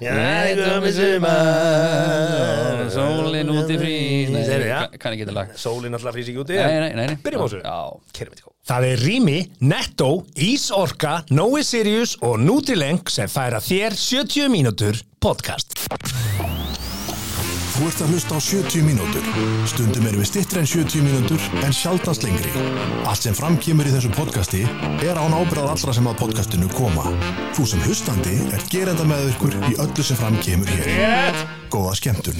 Já, það komið sumar Sólin út í frí Nei, Þeir eru, já. kann- kann ekki þetta lag Sólin alltaf frýs ekki úti Nei, nei, nei, nei. Byrjum á þessu Já. Kermit Kó Það er Rými, Netto, Ísorka, Nói Sirius og Nutrileng sem færa þér 70 mínútur podcast. Þú ert að hlusta á 70 mínútur. Stundum erum við stittri en 70 mínútur en sjaldans lengri. Allt sem framkemur í þessu podcasti er án ábyrðað allra sem að podcastinu koma. Þú sem hlustandi er gerenda með ykkur í öllu sem framkemur hér. Góða skemmtun.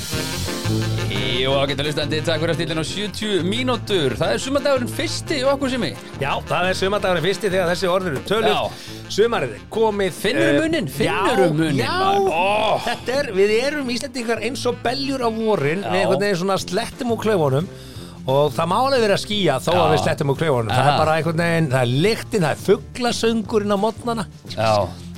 Jó, ágæta listandi, takk fyrir að stílinn á 70 mínútur Það er sumandagurinn fyrsti og okkur sem ég Já, það er sumardagurinn fyrsti þegar þessi orður eru tölur Sumarið er komið Finnurðu eh, muninn? Finnurðu já, muninn, maður? Já, þetta er, við erum Íslendingar eins og beljur á vorin Já. Við einhvern veginn svona slettum úr klaufunum Og það má alveg vera að skýja þó að Já. við slettum úr klaufunum Það Aha. er bara einhvern veginn, það er lyktin, það er fugglasöngurinn á mótnana Já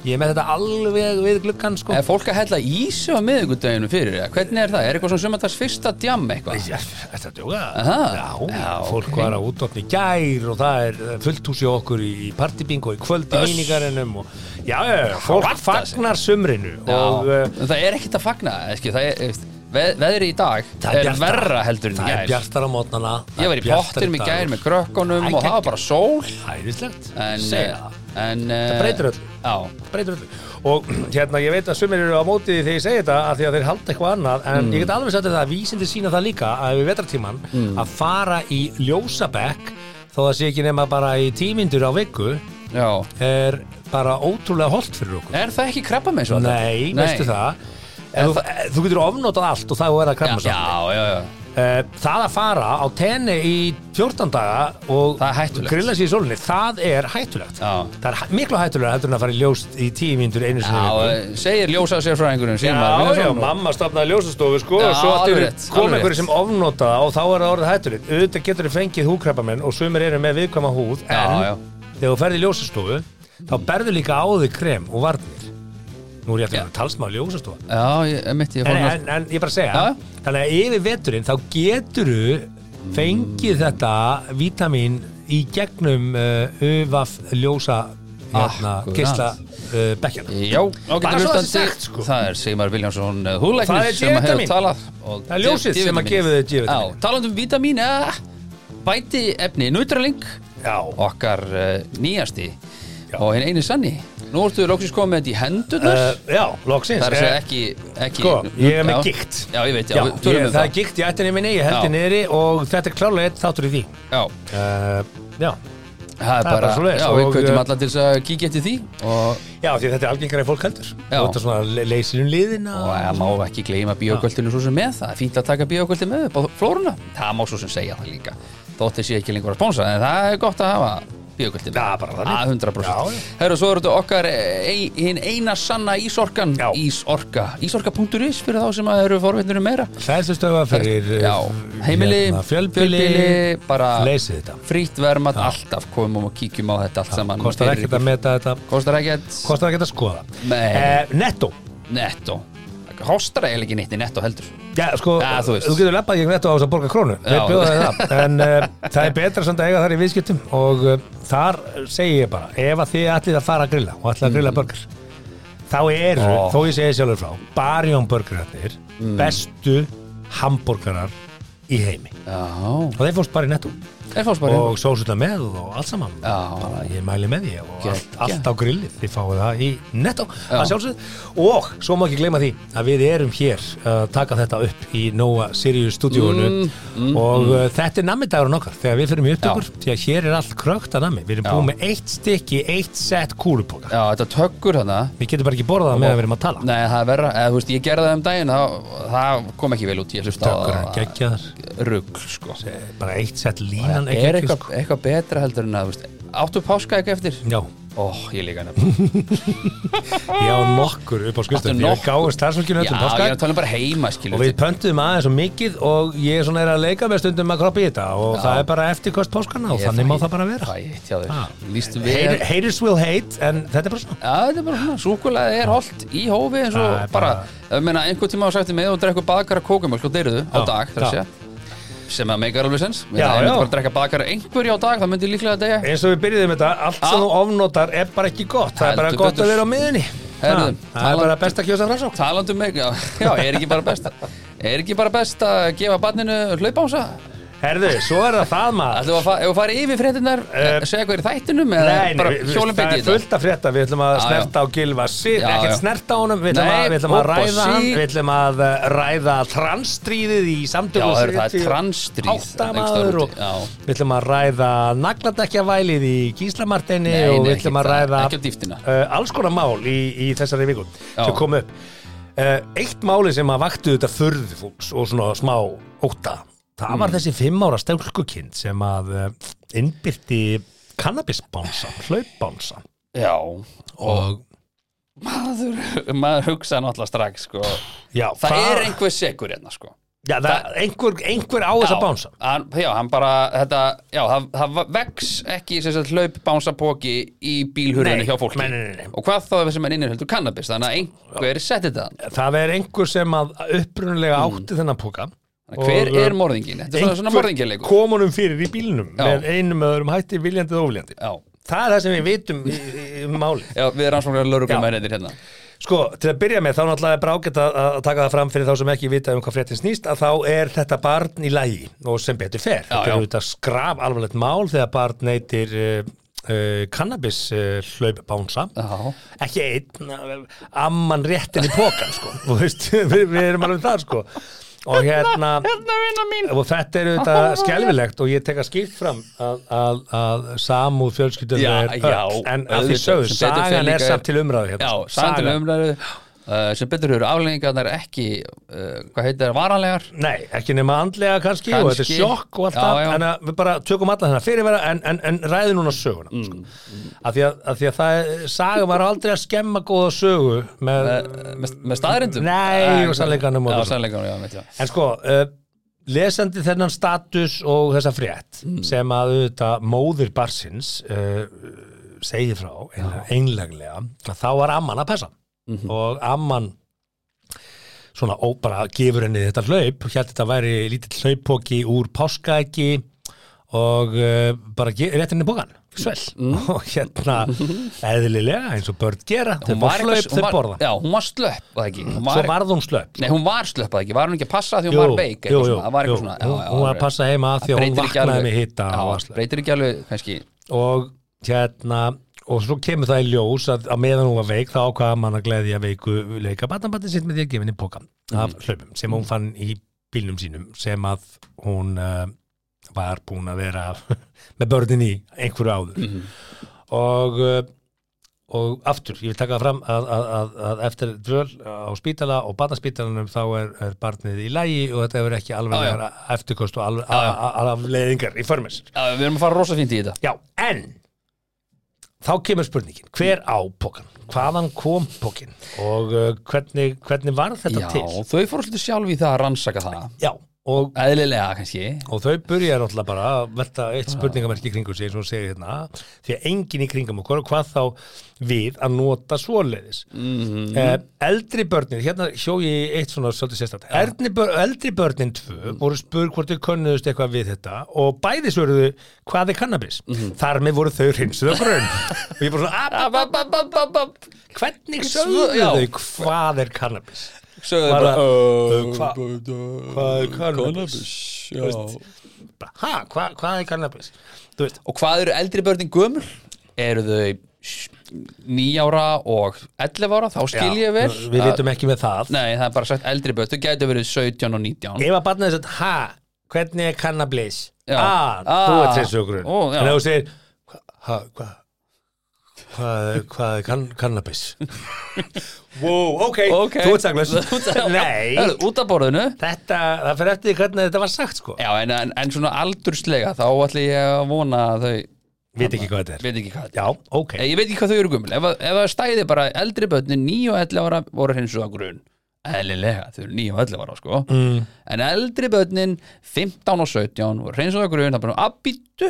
Ég er með þetta alveg við gluggan sko Er fólk að hella ísu á miðugudaginu fyrir það? Hvernig er það? Er eitthvað svona sumandags fyrsta djam eitthvað? Já, Þetta er djóka Aha. Já, Já, fólk ok. var á útnáttni gær og það er eh, fullt hús í okkur í partybingo í kvöld í Öss. míningarinnum og já, já, já, fólk Rattar sig. fagnar sumrinu og Já, eh, en það er ekkert að fagna, eski, það er, veist, veð, veðri í dag það er bjartara. verra heldur en Það er í gær. bjartara mótnana Ég var í pottinum í gær með krökkunum Æ, og það var bara sól. Æðislegt, En, segja það eh, en, það breytir öllu. Já, breytir öllu og hérna ég veit að sumir eru á móti því þegar ég segi þetta að því að þeir halda eitthvað annað en Mm. ég get alveg sagt að það vísindi sína það líka að við vetartíman að fara í ljósabekk þó það sé ekki nema bara í tímindur á viku já. er bara ótrúlega holdt fyrir okkur Er það ekki krabba með svo? nei, veistu það En þú, þú getur ofnótað allt og það er að Já, kremma já, saman. já, já. Eh, Það að fara á tenni í 14 daga og Það er hættulegt. grilla sér í sólinni, það er hættulegt. Já. Það er hæ- miklu hættulega heldur en að fara í ljóst í tíu mínútur einu sinni. í Já, viku. eh, segir ljósað sér frá einhverjum Já, já, mamma stopnaði ljósastofu sko Já, og svo alveg allir rétt, kom alveg einhverju rétt. sem ofnóta og þá er það orðið hættulegt auðvitað getur þið fengið húkrappamenn og sumir eru með viðkvæma húð en Já, já. þegar þú ferði í ljósastofu þá berðu líka á þig krem og varnir Nú er ég eftir að talsmaður ljósastofa Já, ég, eh, mitt, ég en, fór en, en ég bara segja Já, já. þannig að yfir veturinn þá getur þú fengið þetta vítamin í gegnum uh, ufaf ljósa hérna, Akkurat. geisla uh, bekkjana Ah, Já, ágættur Bara svo það sé hlustandi. sagt, sko. Það er Sigmar Viljánsson uh, Það er húlæknir sem að hefur D-vitamin. talað og Það er ljósið D-vitamin. sem að gefa þér D-vitamin. Já, talandum um vitamín eh, bæti efni Nutralink Já. okkar uh, nýjasti Já. og hinn eini sanni Nú ertu loksins komið þetta í hendurnar Uh, já, loksins Það er að segja Eh, ekki, ekki Sko, ég er með Já. gigt. Já, ég veit, já, Já, við ég, tölum um það er það gikt í ættinni minni, ég held Já. þið niðri og þetta er klárlega eitt þáttur í því Já, uh, Já, það er bara bara svoleiðis. Já, við Og, kvötum eh, alla til þess að kíkja eftir því og, já því þetta er algengara en fólk heldur og Já. þetta svona le- leysir um liðina og að má ekki gleyma bíókvöldinu svo sem með það er fínt að taka bíókvöldinu með upp á flóruna það má svo sem segja það líka þótt þessi ekki lengur að sponsa en það er gott að hafa bíókvöldinu Já, bara þannig. að 100% Já, já. herru svo eru þetta okkar eh, ein- hin eina sanna ísorkan Já. ísorka ísorka.is fyrir þá sem að eru forveitnir um meira Hlæðslustöfa fyrir eh, já, heimili, hérna, fjölbýli, fjölbýli bara Leysið þetta frýtt vermat alltaf komum og kíkjum á þetta allt saman Kostar fyrir ekkert að ykkur. meta þetta kostar ekkert Kostar ekkert að skoða Nei. Eh, Netto netto kostar eiginlega ekki neitt í netto heldur Já, sko, Já, þú þú, veist. getur lappað gegn þetta á þess að borga krónu Já. Við bjóðum þér það En uh, það er betra samt að eiga þar í viðskiptum Og uh, þar segi ég bara Ef að þið ætlið að fara að grilla Og ætlið að grilla burger Þá eru, Mm. Ó. Mm. þó ég segi sjálfur frá Barjón burgerarnir Bestu hambúrgarar í heimi já Og þeir fórst bara í netto er fórsparinn Og sósutna með og allt saman Já. bara, Ég mæli með því Og Geggjað. allt, allt á grillið, þið fáið það í netto Já. að sjálfsögð Og svo má ekki gleyma því að við erum hér að taka þetta upp í Nóa Sirius stúdíónu Mm, Og uh, þetta er nammidagurinn okkar Þegar við fyrir í upptökur Því að hér er allt krökt að nammi Við erum Já. búin með eitt stykki, eitt sett kúlupoka Já, þetta tökkur þarna Við getum bara ekki borðað það með að við erum að tala Nei, það er verra, eða þú veist, ég gerði það um daginn það, það kom ekki vel út, ég hlusta Tökur að gegja þar Rugg, sko Bara eitt sett línan Er ekki eitthvað, eitthvað betra heldur en að, þú veist Áttu páska ekki eftir? Já, Ó, ég líka nefn ég á nokkur upp á Áttu skustu Ég nokkur? gáði starfsfólkinu Já, öllum ég er páskaegg. að tala um bara heima, skilur og við pöntum aðeins og mikið og ég svona er að leika með stundum að kroppa í þetta og Já. það er bara eftirkost páskana og þannig má það bara vera Það ég, tjáður, Ah. lístu við Hater- Haters will hate en þetta er bara svona Já, þetta er bara svona, súkulega er holdt í hófi eins og Það er bara, bara- ég meina, einhvern tíma á sætti með og drekku bakar að kókamjölk og deyruðu á Já, dag, þar að já. segja sem að meikar alveg sens, ég Já, myndi já. bara að drekka bakar einhverju á dag, það myndi ég líklega að deyja eins og við byrjuðum þetta, allt Já. sem þú ofnotar er bara ekki gott það er bara Heldur gott betur. að vera á miðunni Herðu, Það er bara best að kjósa framsókn Talandi um mig, já, já, er ekki bara best Er ekki bara best að gefa barninu hlaupása? Herðu, svo er það það maður Ætlum við að fa- ef við farið yfir fréttinnar Eh, segja hvað er í þættinum eða Nei, nei, bara við- hjólum það beint í er þetta fullt að frétta, við ætlum að Já, já. snerta á Gilva Sif, Já, ekkert já. snerta á honum, við ætlum, Nei, að, við ætlum að opa, ræða sí. hann, við ætlum að eh, ræða transstríðið í Já, samtökum það er- það er transstríð áttamaður og Já. við ætlum að ræða nagladekjavælið í Gíslamartinni Nei, nei, og við ekki ætlum að það, ræða ekki á dýptina. eh, alls konar mál í, í þessari viku Já. sem kom upp. Eh, Eitt máli sem að vakti þetta förðu fólks og svona smá óta, það Mm. var þessi fimm ára stjálkukind sem að eh, innbyrti kannabisbánsan, hlaupbánsan Já, og maður, maður hugsa náttúrulega strax sko. já, Það hvað- er einhver sekur hérna sko. já, það, einhver, einhver á þess að bánsa hann, Já, hann bara þetta, já, það, það vex ekki sem sagt, hlaup bánsapóki í bílhurðinu Nei, hjá fólki nei, nei, nei, nei. Og hvað þá ef sem er innihöldur kannabis þannig að einhver setti þetta þarna. það er einhver sem að upprunulega átti þennan póka Þannig að Mm. Hver Og, uh, um, er morðingin? Þetta er svona, svona morðingileikur kom honum fyrir í bílnum Já. með einum öðrum hætti viljandi eða óviljandi Já, það er það sem við vitum í, í, um máli já, við rannsóknar lögreglumennir hérna sko, til að byrja með þá náttúrulega er brákett að, að taka það fram fyrir þá sem ekki vita um hvað fréttin snýst að þá er þetta barn í lagi og sem betur fer Já, þetta já. er auðvitað skraf alvarlegt mál þegar barn neytir uh, uh, kannabis uh, hlaupbánsa Já, ekki einn, amman réttin í pókan sko, þú veist, við, við erum alveg þar sko og hérna vinna mín og þetta er auðvitað skelfilegt og ég tek að skýrt fram að, að, að samúð fjölskyldum Já, er já, öll en að því auðvitað, sögðu, sem betur fer sagan líka er er- samt til umræðu Já, hérna, sagan um- til Sagan- umræðu uh, sem betur eru afleggingarnar ekki uh, hvað heitir það, varanlegar Nei, ekki nema andlega kannski, og þetta er Kannski. sjokk og allt Já, það, já. en að við bara tökum alla þennan fyrirvera en, en, en ræði núna söguna Mm. sko. af, því að, af því að það er- saga var aldrei að skemma góða sögu með, uh, með, með staðrindum Nei, og sannleikanum og Já, þessu. sannleikanum, já, veit ég En sko, uh, lesandi þennan status og þessa frétt Mm. sem að auðvitað móðir barsins uh, segi frá einlega, einleglega, að þá var amman að passa Mhm. og amman svona ó, bara gefur henni þetta hlaup, hérna þetta væri lítill hlauppóki úr páskaeggi og uh, bara ge- rétt henni bókan svel, Mm. og hérna eðlilega eins og börn gera þau Hún fá var eitthvað- hlaup, hún þau var- borða Já, hún var slöpp, var það ekki Hún svo var, varð hún slöpp Nei, hún var slöpp, var það ekki Var hún ekki að passa því hún var veik eitthvað svona, Það var eitthvað svona já, hún, já, hún var alveg. að passa heima af því að Það hún breytir ekki vaknaði alveg. með hitta Já, og vatnslega. breytir ekki alveg, kannski og hérna og svo kemur það í ljós að, að meðan hún var veik þá ákvaða mann að gleðja veiku leika batnabandi sitt með því að gefa henni póka af Mhm. hlaupum sem hún fann í bílnum sínum sem að hún uh, var búin að vera með börnin í einhverju áður Mhm. og uh, og aftur, ég vil taka það fram að, að, að, að eftir dvöl á spítala og batnaspítalanum þá er, er barnið í lægi og þetta hefur ekki alveg eftirkost og alveg já. afleiðingar í förmis Já, við erum að fara rosa fínt í þetta Já, en þá kemur spurningin, hver á pókan? Hvaðan kom pókin? Og uh, hvernig, hvernig var þetta Já, til? þau fóru svolítið sjálf í það að rannsaka það Já, og, Eðlilega, kannski og þau byrjaði náttúrulega bara að velta eitt spurningamerki í kringum sig eins og hún segir hérna, því að enginn í kringum okkur og hvað þá við að nota svoleiðis. mm, Mm. eldri börnin, hérna hjó ég eitt svona svolítið sérstætt, eldri, bör, eldri börnin tvö voru spurð hvort þau könnuðust eitthvað við þetta og bæði svöruðu hvað er kannabis, Mhm. þar með voru þau hreinsuð á grunn og ég bara svona, "Ah, Ab, ab, ab, ab, ab, ab. hvernig Sögðu, sögðu já. þau hvað er kannabis Sögðu Bara, bara uh, "Ö, hva- uh, hvað er kannabis? já. Bara, ha, hva, hvað er kannabis þú veist, Og hvað eru eldri börnin gömul? Eru þau sj- níu ára og 11 ára? Þá skil ég vel við vitum ekki með það Nei, það er bara sagt eldri börn Þau gætu verið 17 og 19 ef að barnið þess að, ha, hvernig er kannabis Já. ah, þú Ah. ert þessu okkur Ó, já. en ef þú segir hva, ha, hva, hvað er, hvað er kann, kannabis wow, ok, Ok. þú ert saklaus Það nei, eru Út af borðinu þetta, það fyrir eftir því hvernig þetta var sagt sko, Já, en, en, en svona aldurslega Þá ætla ég að vona að þau við ekki hvað þetta er Veit ekki hvað já, ok, Ég veit ekki hvað þau eru gömul Ef, að- ef það stæði bara eldri börnin 9 og 11 ára voru hins og að grun Eðlilega, þau eru 9 og 11 ára sko mm. En eldri börnin 15 og 17 voru hins og að grun Það er bara að býttu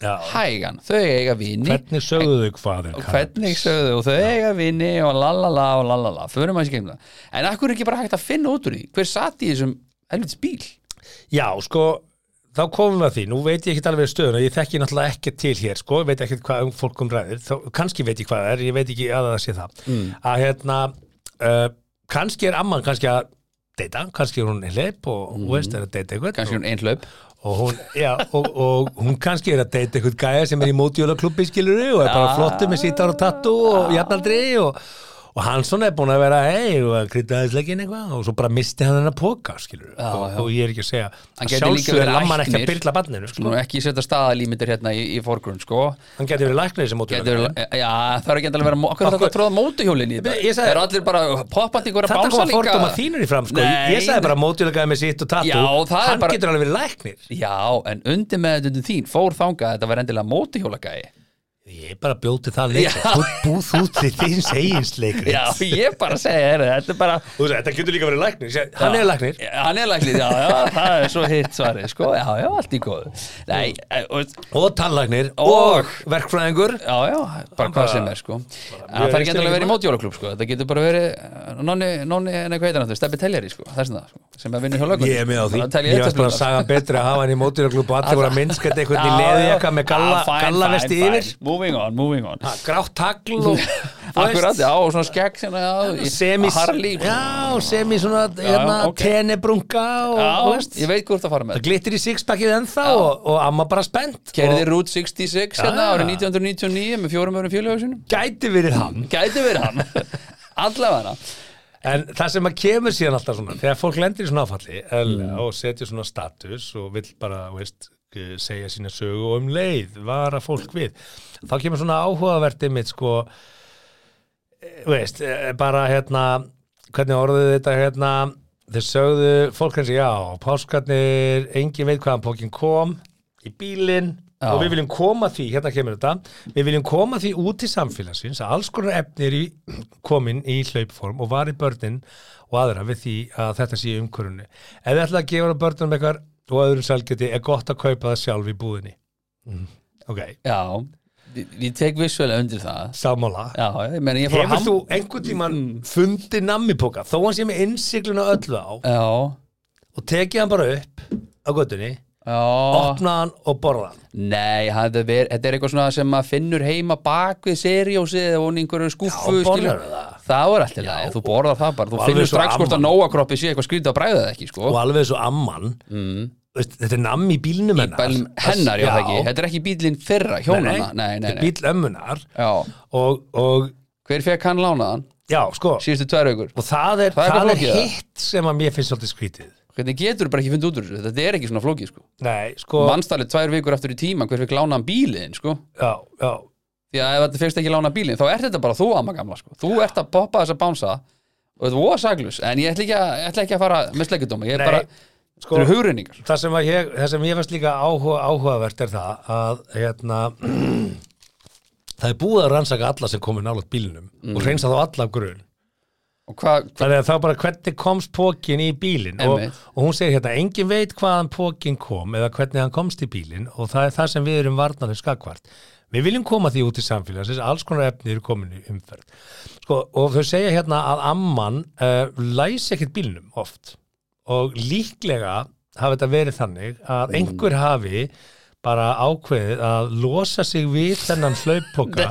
já hægan Þau eiga vini hvernig sögðu þau hvað er Og kannabis hvernig sögðu og þau eiga vini og lalala og lalala Förum að skemmla En akkur er ekki bara hægt að finna út úr því Hver sat í þessum helvitis bíl? Já, sko, þá komum við að því, nú veit ég ekkert alveg stöðuna, ég þekki náttúrulega ekki til hér sko, veit ekkert hvað um fólkum ræðir þá, kannski veit ég hvað það er, ég veit ekki að það sé það að hérna uh, kannski er amman kannski að deyta, kannski er hún hleyp og hún veist er að deyta einhvern kannski hún Sko. einn hlaup og hún, já, og, og hún kannski er að deyta einhvern gæja sem er í mótjólaklubbi skiluru og er bara flottur með sítar og tattu og jafnaldri og, og hann svona er búin að vera hei og krydda aðeins leggin eitthvað og svo bara misti hann hennar póka skiluru og, og ég er ekki að segja Hann gæti að líka sjálfsögur verið er amman ekki læknir. að byrla barninu Nú sko. ekki setja staðalímyndir hérna í, í forgrunn sko hann getur verið læknir sem Getur, e, mótjólaklubbi já, það er ekki endalega að vera okkur er þetta Okkur- að tróða mótuhjólin í þetta Ég sagði- er allir bara poppandi einhverja Þetta bánsa kom að líka fordóma þínur í fram sko. Nei, Ég sagði bara mótjólaklubbi með sitt og tattu Já, það er Hann bara- getur alveg verið læknir já, en undir með þetta þín fór þangað að þetta var endilega mótuhjólagæi Ég bara bjóti það leikrit Já. Þú búð út til þín segins leikrit já, ég bara segja heyrðu, þetta er bara Þú veist, Þetta getur líka verið læknir Ég segi, Hann Já. er læknir Já, hann er læknir, já, já, það er svo hitt svarið sko, já, já, allt í góðu nei, eh, og, og tannlagnir Og- og, verkfræðingur já, já, bara hvað sem er sko það er ekki endalega að vera í mótuhjólaklub sko, þetta getur bara verið eh, nonni, nonni, en eitthvað heitir hann þetta, steppi teljari sko, það er svona sko, sem að vinna hjá lögunum ég er með á því, Bara telja ég varst bara að eyrnablöðar. saga betri að hafa hann í mótýraklub og allir voru að minnska þetta einhvern í Já, leði já. eitthvað með Já, fine, gallavesti fine, yfir fine. moving on, moving on Ha, grátt tagl og þú akkurat, veist, já, og svona skegg svona, já, í- semis Harley já, semi svona hérna, ok. tenebrunga og Já, þú veist, ég veit hvort það fara það með glittir í sixpackið ennþá og, og amma bara spennt Kerði og Route 66 hérna Já. árið 1999 með fjórum örum fjölega sinum gæti verið hann Gæti verið hann Allavega En það sem að kemur síðan alltaf svona, þegar fólk lendir í svona áfalli mm. og setjur svona status og vill bara, þú veist, eh, segja sína sögu og um leið, vara fólk við, þá kemur svona áhugavertið mitt, sko, eh, þú veist, eh, bara hérna, hvernig orðið þetta hérna, þeir sögðu fólk hans, já, páskarnir, engin veit hvaðan pókin kom í bílinn, Já. Og við viljum koma því, hérna kemur þetta, við viljum koma því út til samfélagsins að alls konar efni er í, komin í hlaupform og var í börnin og aðra við því að þetta sé í umkörunni. Ef þið ætlaði að gefa börnum eitthvað og öðrum selgeti er gott að kaupa það sjálf í búðinni. Mm. Ok, Já, ég, ég tek vissulega undir það sammála. Já, ég meni ég fór að Hefur ham- Mm. þú einhvern tíman fundið nammipoka, þó hann sé með innsikluna öllu á Já, og tekið hann bara upp á göttunni, já opnað hann og borðað hann. Nei, þetta er, þetta er eitthvað svona sem maður finnur heima bak við seriósið eða hún í einhverju skúffu Já, borðarðu skilur. það? Það er alltaf það, þú borðar það bara Og Þú alveg finnur svo strax hvort að amman. nóakroppi sé eitthvað skrýta að bræða það ekki sko. og alveg svo amman mm. veist, þetta er nammi í bílnum hennar Bælum hennar, já það ekki Þetta er ekki bílinn fyrra, hjónana Nei, nei, nei, þetta er bíl ömmunar Já, og, og hver fekk hann lánaðan já, sko síðustu tvær aukur og það Það er er, það er, eitthvað flókið, hitt sem að mér finnst svolítið skrítið Hvernig getur bara ekki fundið út úr þessu, þetta er ekki svona flókið sko nei, sko Vannstallið tvær vikur eftir í tíma, hver fekk lánaðan bílinn sko já, já, Því að ef þetta fyrst ekki lánaðan bílinn, þá ert þetta bara þú amma gamla sko Þú ert að poppa þessa bánsa og þetta voru saglus En ég ætla ekki að, ætla ekki að fara með slegjadóma, ég er Nei, bara, sko- þetta eru hugreiningar það sem, að ég, það sem ég fannst líka áhuga, áhugavert er það að hérna, það er búið að rannsaka alla sem komu nálaðt bílnum og reynsa þá alla af grun Og hvað, Þannig að þá bara hvernig komst pókin í bílinn og, Einmitt. og hún segir hérna, engin veit hvaðan pókin kom eða hvernig hann komst í bílinn og það er það sem við erum varnarlega skakvart. Við viljum koma því út í samfélagsins, alls konar efni eru komin í umferð. Sko, og þau segja hérna að amman uh, læsi ekkert bílnum oft og líklega hafi þetta verið þannig Mm. að einhver hafi bara ákveðið að losa sig við þennan hlauppoka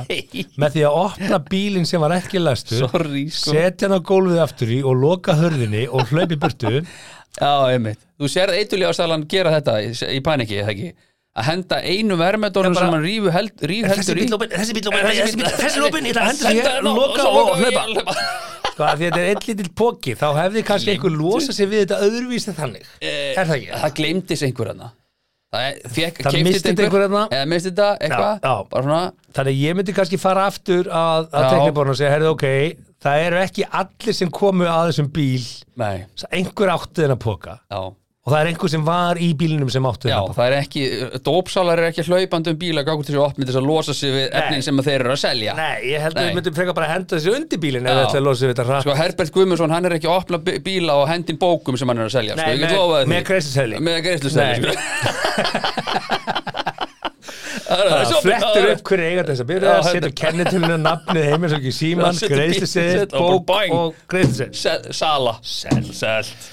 Nei. með því að opna bílinn sem var ekki læstur sorry sko setja hann á gólfið aftur í og loka hörðinni og hlaupi burtu Já, einmitt. Þú sérð eituljástalan gera þetta í, í paniki, eða ekki? Að henda einu vermetónum sem hann rífu held, ríf heldur í. lópin, þessi bíl ég ætla Henda hér, henni á, svo loka og loka hlaupa ég hlaupa. sko að því þetta er einn lítill póki þá hefði kannski einhver losa sig við þetta öðruvísi þannig er það ekki? Eh, Það gleymdis einhver hana. Það, fekk, Það misti þetta einhver þarna. Eða misti þetta eitthvað. Já, já. Bara svona, Þannig að ég myndi kannski fara aftur að, að Já. tekniborna og segja, herrðu ok það eru ekki allir sem komu að þessum bíl nei, einhver átti þennan póka já. og það er einhver sem var í bílinum sem átti Já, þennan póka það er ekki, dópsalar er ekki hlaupandi um bíla gangur til þessu opni til þess að losa sig við efnin sem að þeir eru að selja. Nei, ég held að Nei. við myndum frekar bara að henda þessi undir bílinn ef Já. við ætla að losa sig við þetta rætt Sko, Herbert Guðmundsson, hann er ekki að opna bí- bíla og hendin bókum sem hann er að selja. Nei, sko, ég get með- lofað því. með greiðsluseðli. Með greiðsluseðli, Nei. sko. Það flettur upp hverju eiga þess að byrja, Já, setur þetta- kennitöluna, nafnið heimil, svo ekki síman, Já, setur bíl- greiðsluseðil, og bara bók bang. og greiðsluseðil. Sel, sala Selt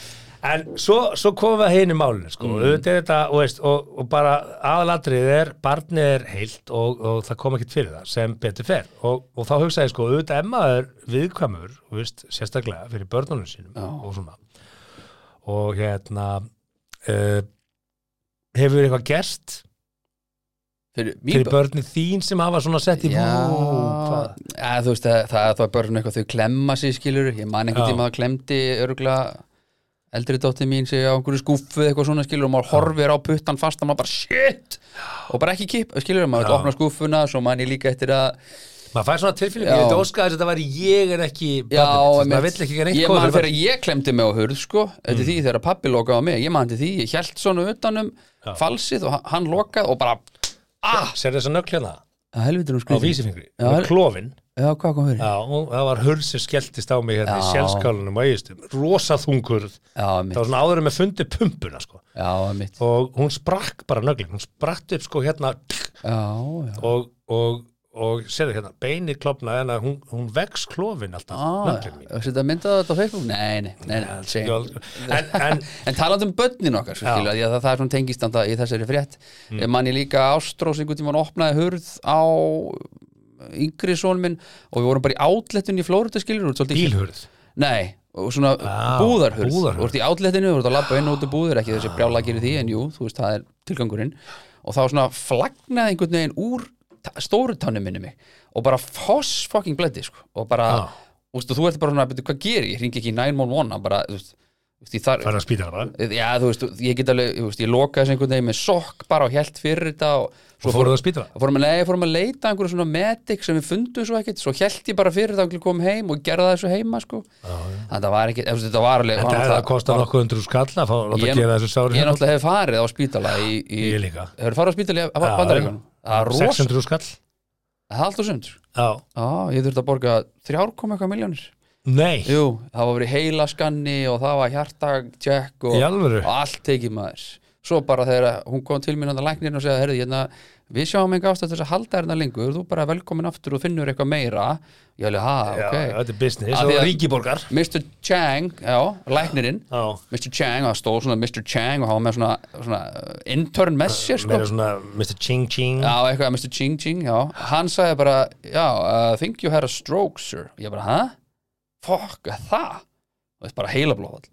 En svo, svo komum við að hinu málinu sko. Mm. auðvitað er þetta, og, veist, og, og bara aðalatrið er, barnið er heilt og, og það kom ekkert fyrir það sem betur fer og, og þá hugsaði sko, auðvitað emma er viðkvæmur, þú veist, sérstaklega fyrir börnunum sínum og svona og hérna uh, hefur eitthvað gerst fyrir, mín fyrir börn. börnið þín sem hafa svona sett í Já, vó, hvað? ja, þú veist að það, það er börn eitthvað þau klemma sig skilur ég man einhvern Já. tíma að það klemdi örgla eldri dóttir mín sig á einhverju skúfu eða eitthvað svona skilur og maður horfir á puttan fast og maður bara shit og bara ekki kip skilur maður Já. opna skúfuna svo man ég líka eftir að maður fær svona tilfinning, Já. ég veit óskaði þess að þetta væri ég er ekki Já, barnið, maður einmitt. vill ekki gera ég eitthvað man þegar ég klemdi mig á hurð sko, Mm. þetta er því þegar pappi lokaði á mig ég man til því, ég held svona utanum falsið og hann- hann lokaði og bara ah, sér þess að nöggla það helvitur hún á skriði vísifingri, Já, með er- klófin já, hvað kom fyrir? Já, og það var hurð sem skelltist á mig hérna í Já. sjálfskálunum og eigistum rosa þungur, já, það mitt, var svona áður en með fundi pumpuna sko, já, mitt og hún sprakk bara nöglin, hún spratt upp sko hérna tk, já, já, og, og, og sérðu hérna, beinið klopnaði en að hún, hún vex klófin alltaf, ah, nöglin mín setja myndað þetta á Facebook? nei, nei, nei, nei, nei en, en En talandi um börnin okkar svo Já. skilja, því að það, það er svona tengistanda í þessari frétt mm. mann ég líka Ástrós einhvern tímann opnaði hurð á yngri són minn og við vorum bara í átlettun í Flóruðu skilur bílhurð Nei, og svona búðarhurð búðarhurð. Þú ert í átletinu, þú ert að labba inn og út úr búður ekki þessi brjála gerir því, en jú, þú veist, það er tilgangurinn og þá svona flagnaði einhvern veginn úr ta- stóru tánum minni mig og bara foss fucking blendi sko. og bara, Já. þú veist, og þú ert bara svona "Bíddu, hvað gerir, ég hringi ekki í 911 hann bara, þú veist, þú veist, ég þar færði að spýta hana bara Já, þú veist, ég get alveg, þú veist, ég lokaði þessu einhvern veginn með sokk bara og hjælt fyrir þetta og og fóruð að spýta hana fórum að, nei, fórum að leita að einhverju svona medic sem við fundum svo ekkert, svo held ég bara fyrir það og kom heim og gerði það svo heima sko. þannig að það var ekki, eftir, þetta var alveg en það var hefði að náttúrulega- kosta nokkuð undir úr skalla að fá að Ég- gefa þessu sári ég náttúrulega hef farið á spítala í, í, Ég líka. hefur farið á spítala í Já, bandaríkan það er rosa, 600 úr skall það er allt og sund Já. Já, ég þurfti að borga þrjár kom eitthvað miljónir nei, Jú, það var verið heilaskanni og það var hjartagtjekk og í alvöru og allt tekið maður svo bara þegar hún kom til mín að læknirinn og segja, herði, hérna, við sjáum enga ástæð til þess að halda hérna lengur, þú bara velkomin aftur og finnur eitthvað meira ég alveg, Já, ha, þetta er business Af og því að- ríkiborgar ok Mr. Chang, já, læknirinn Já. Mr. Chang, og það stóð svona Mr. Chang og hann var með svona, svona uh, intern með sér, sko Meira svona Mr. Ching Ching Já, eitthvað, Mr. Ching Ching, já Hann sagði bara, já, uh, I think you had a stroke, sir Ég bara, hæ? Fuck, er það? Það er bara heilablóð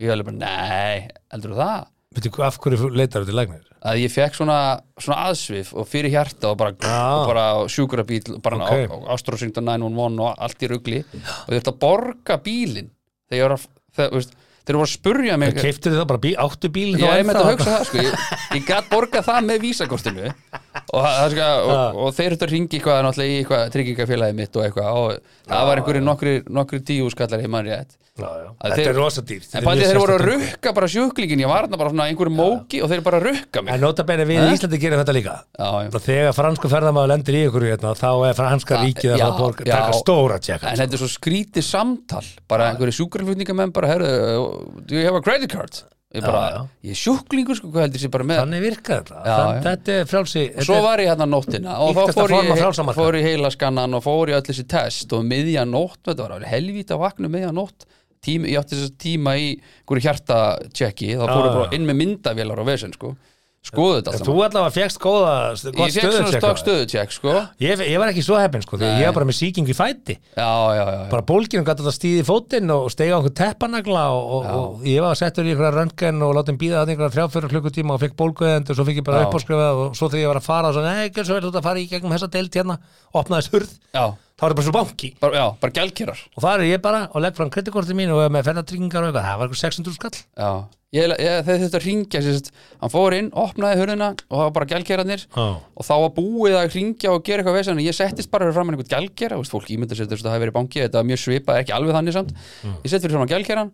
Ég alveg bara, nei, heldur það? Veitu, af hverju leitar þetta læknir? að ég fekk svona, svona aðsvif og fyrir hjarta og bara, Ah. og bara sjúkrabíl og bara Ok. okay. ástrósingta 911 og allt í rugli og ég ætti að borga bílinn þegar ég var að þegar, veist, þegar ég var að spurja mig Okay. Keiftir þið það bara bí, áttu bíl ég hef með þetta að hugsa það sko ég, ég gat borgað það með vísakortinu og, það- það sko, og, og þeir þetta ringi eitthvað náttúrulega í eitthvað tryggingafélagi mitt og eitthvað og það var einhverju nokkri, nokkri tíu skallar í mann rétt Já, já. Að Þetta þeir- er rosa dýrt Þetta en er bæði mjög þeir voru að sérstakt. rukka bara sjúklingin ég var þarna bara svona í einhverju móki og þeir bara rukka mig En nota bene við í Íslandi gerum þetta líka Já, já. Og Þegar fransku ferðamaður lendir í ykkur hérna, þá er franska Já, ríkið að já, fara að borga- já. taka stóra sko. tjekka En þetta er svo skrítið samtal bara einhverju sjúkraflutningamenn bara herðu, uh, do you have a credit card? Ég bara, Já, já. ég er sjúklingur sko, hvað heldur sér bara með Þannig virkar þetta Já, Þann- já. Þetta er frjálsi og þetta svo er- var ég hérna nóttina og þá Ýktasta fór form ég, af frjálsa markaði. fór ég heilaskannan og fór ég öll þessi test og miðja nótt, þetta var alveg helvíti að vakna miðja nótt tíma, ég átti þess að tíma í einhverju hjartatjekki þá fór ég Ah, já. bara inn með myndavélar og vesen sko, skoðu þetta allt Þú saman allavega fegst góða Ég fekk svona stöðutjekk stökk stöðutjekk sko Já, ég, ég var ekki svo heppin sko Þegar ég var bara með sýkingu í fæti já, já, já. Bara bólginum gæti þetta stíði fótinn og stegi á einhver teppanagla og, og, og ég var settur í einhverja röntgen og látið býða það einhverja þrjáfjörur klukkutíma og fekk bólguðend og svo fikk ég bara Já. uppáskrifað og svo þegar ég var að fara og svo, nei, gjör svo vel þú ert að fara í gegnum þessa deild hérna, opnaðist hurð Já, þá er það bara svo banki bara, já, bara gælkerar og það er ég bara og legg fram kreditkortið mín og er með fennatryggingar og eitthvað, það var eitthvað 600 skall Já, ég, ég, þeir þurftu að ringja sérst, hann fór inn, opnaði hurðina og það var bara gælgerarnir Já. og þá var búið að ringja og gera eitthvað vesen en ég settist bara fyrir fram einhvern gælgera veist, fólk ímynda sér þess að það hefur verið banki þetta er mjög svipað, ekki alveg þannig samt Mm. ég sett fyrir fram gælgeran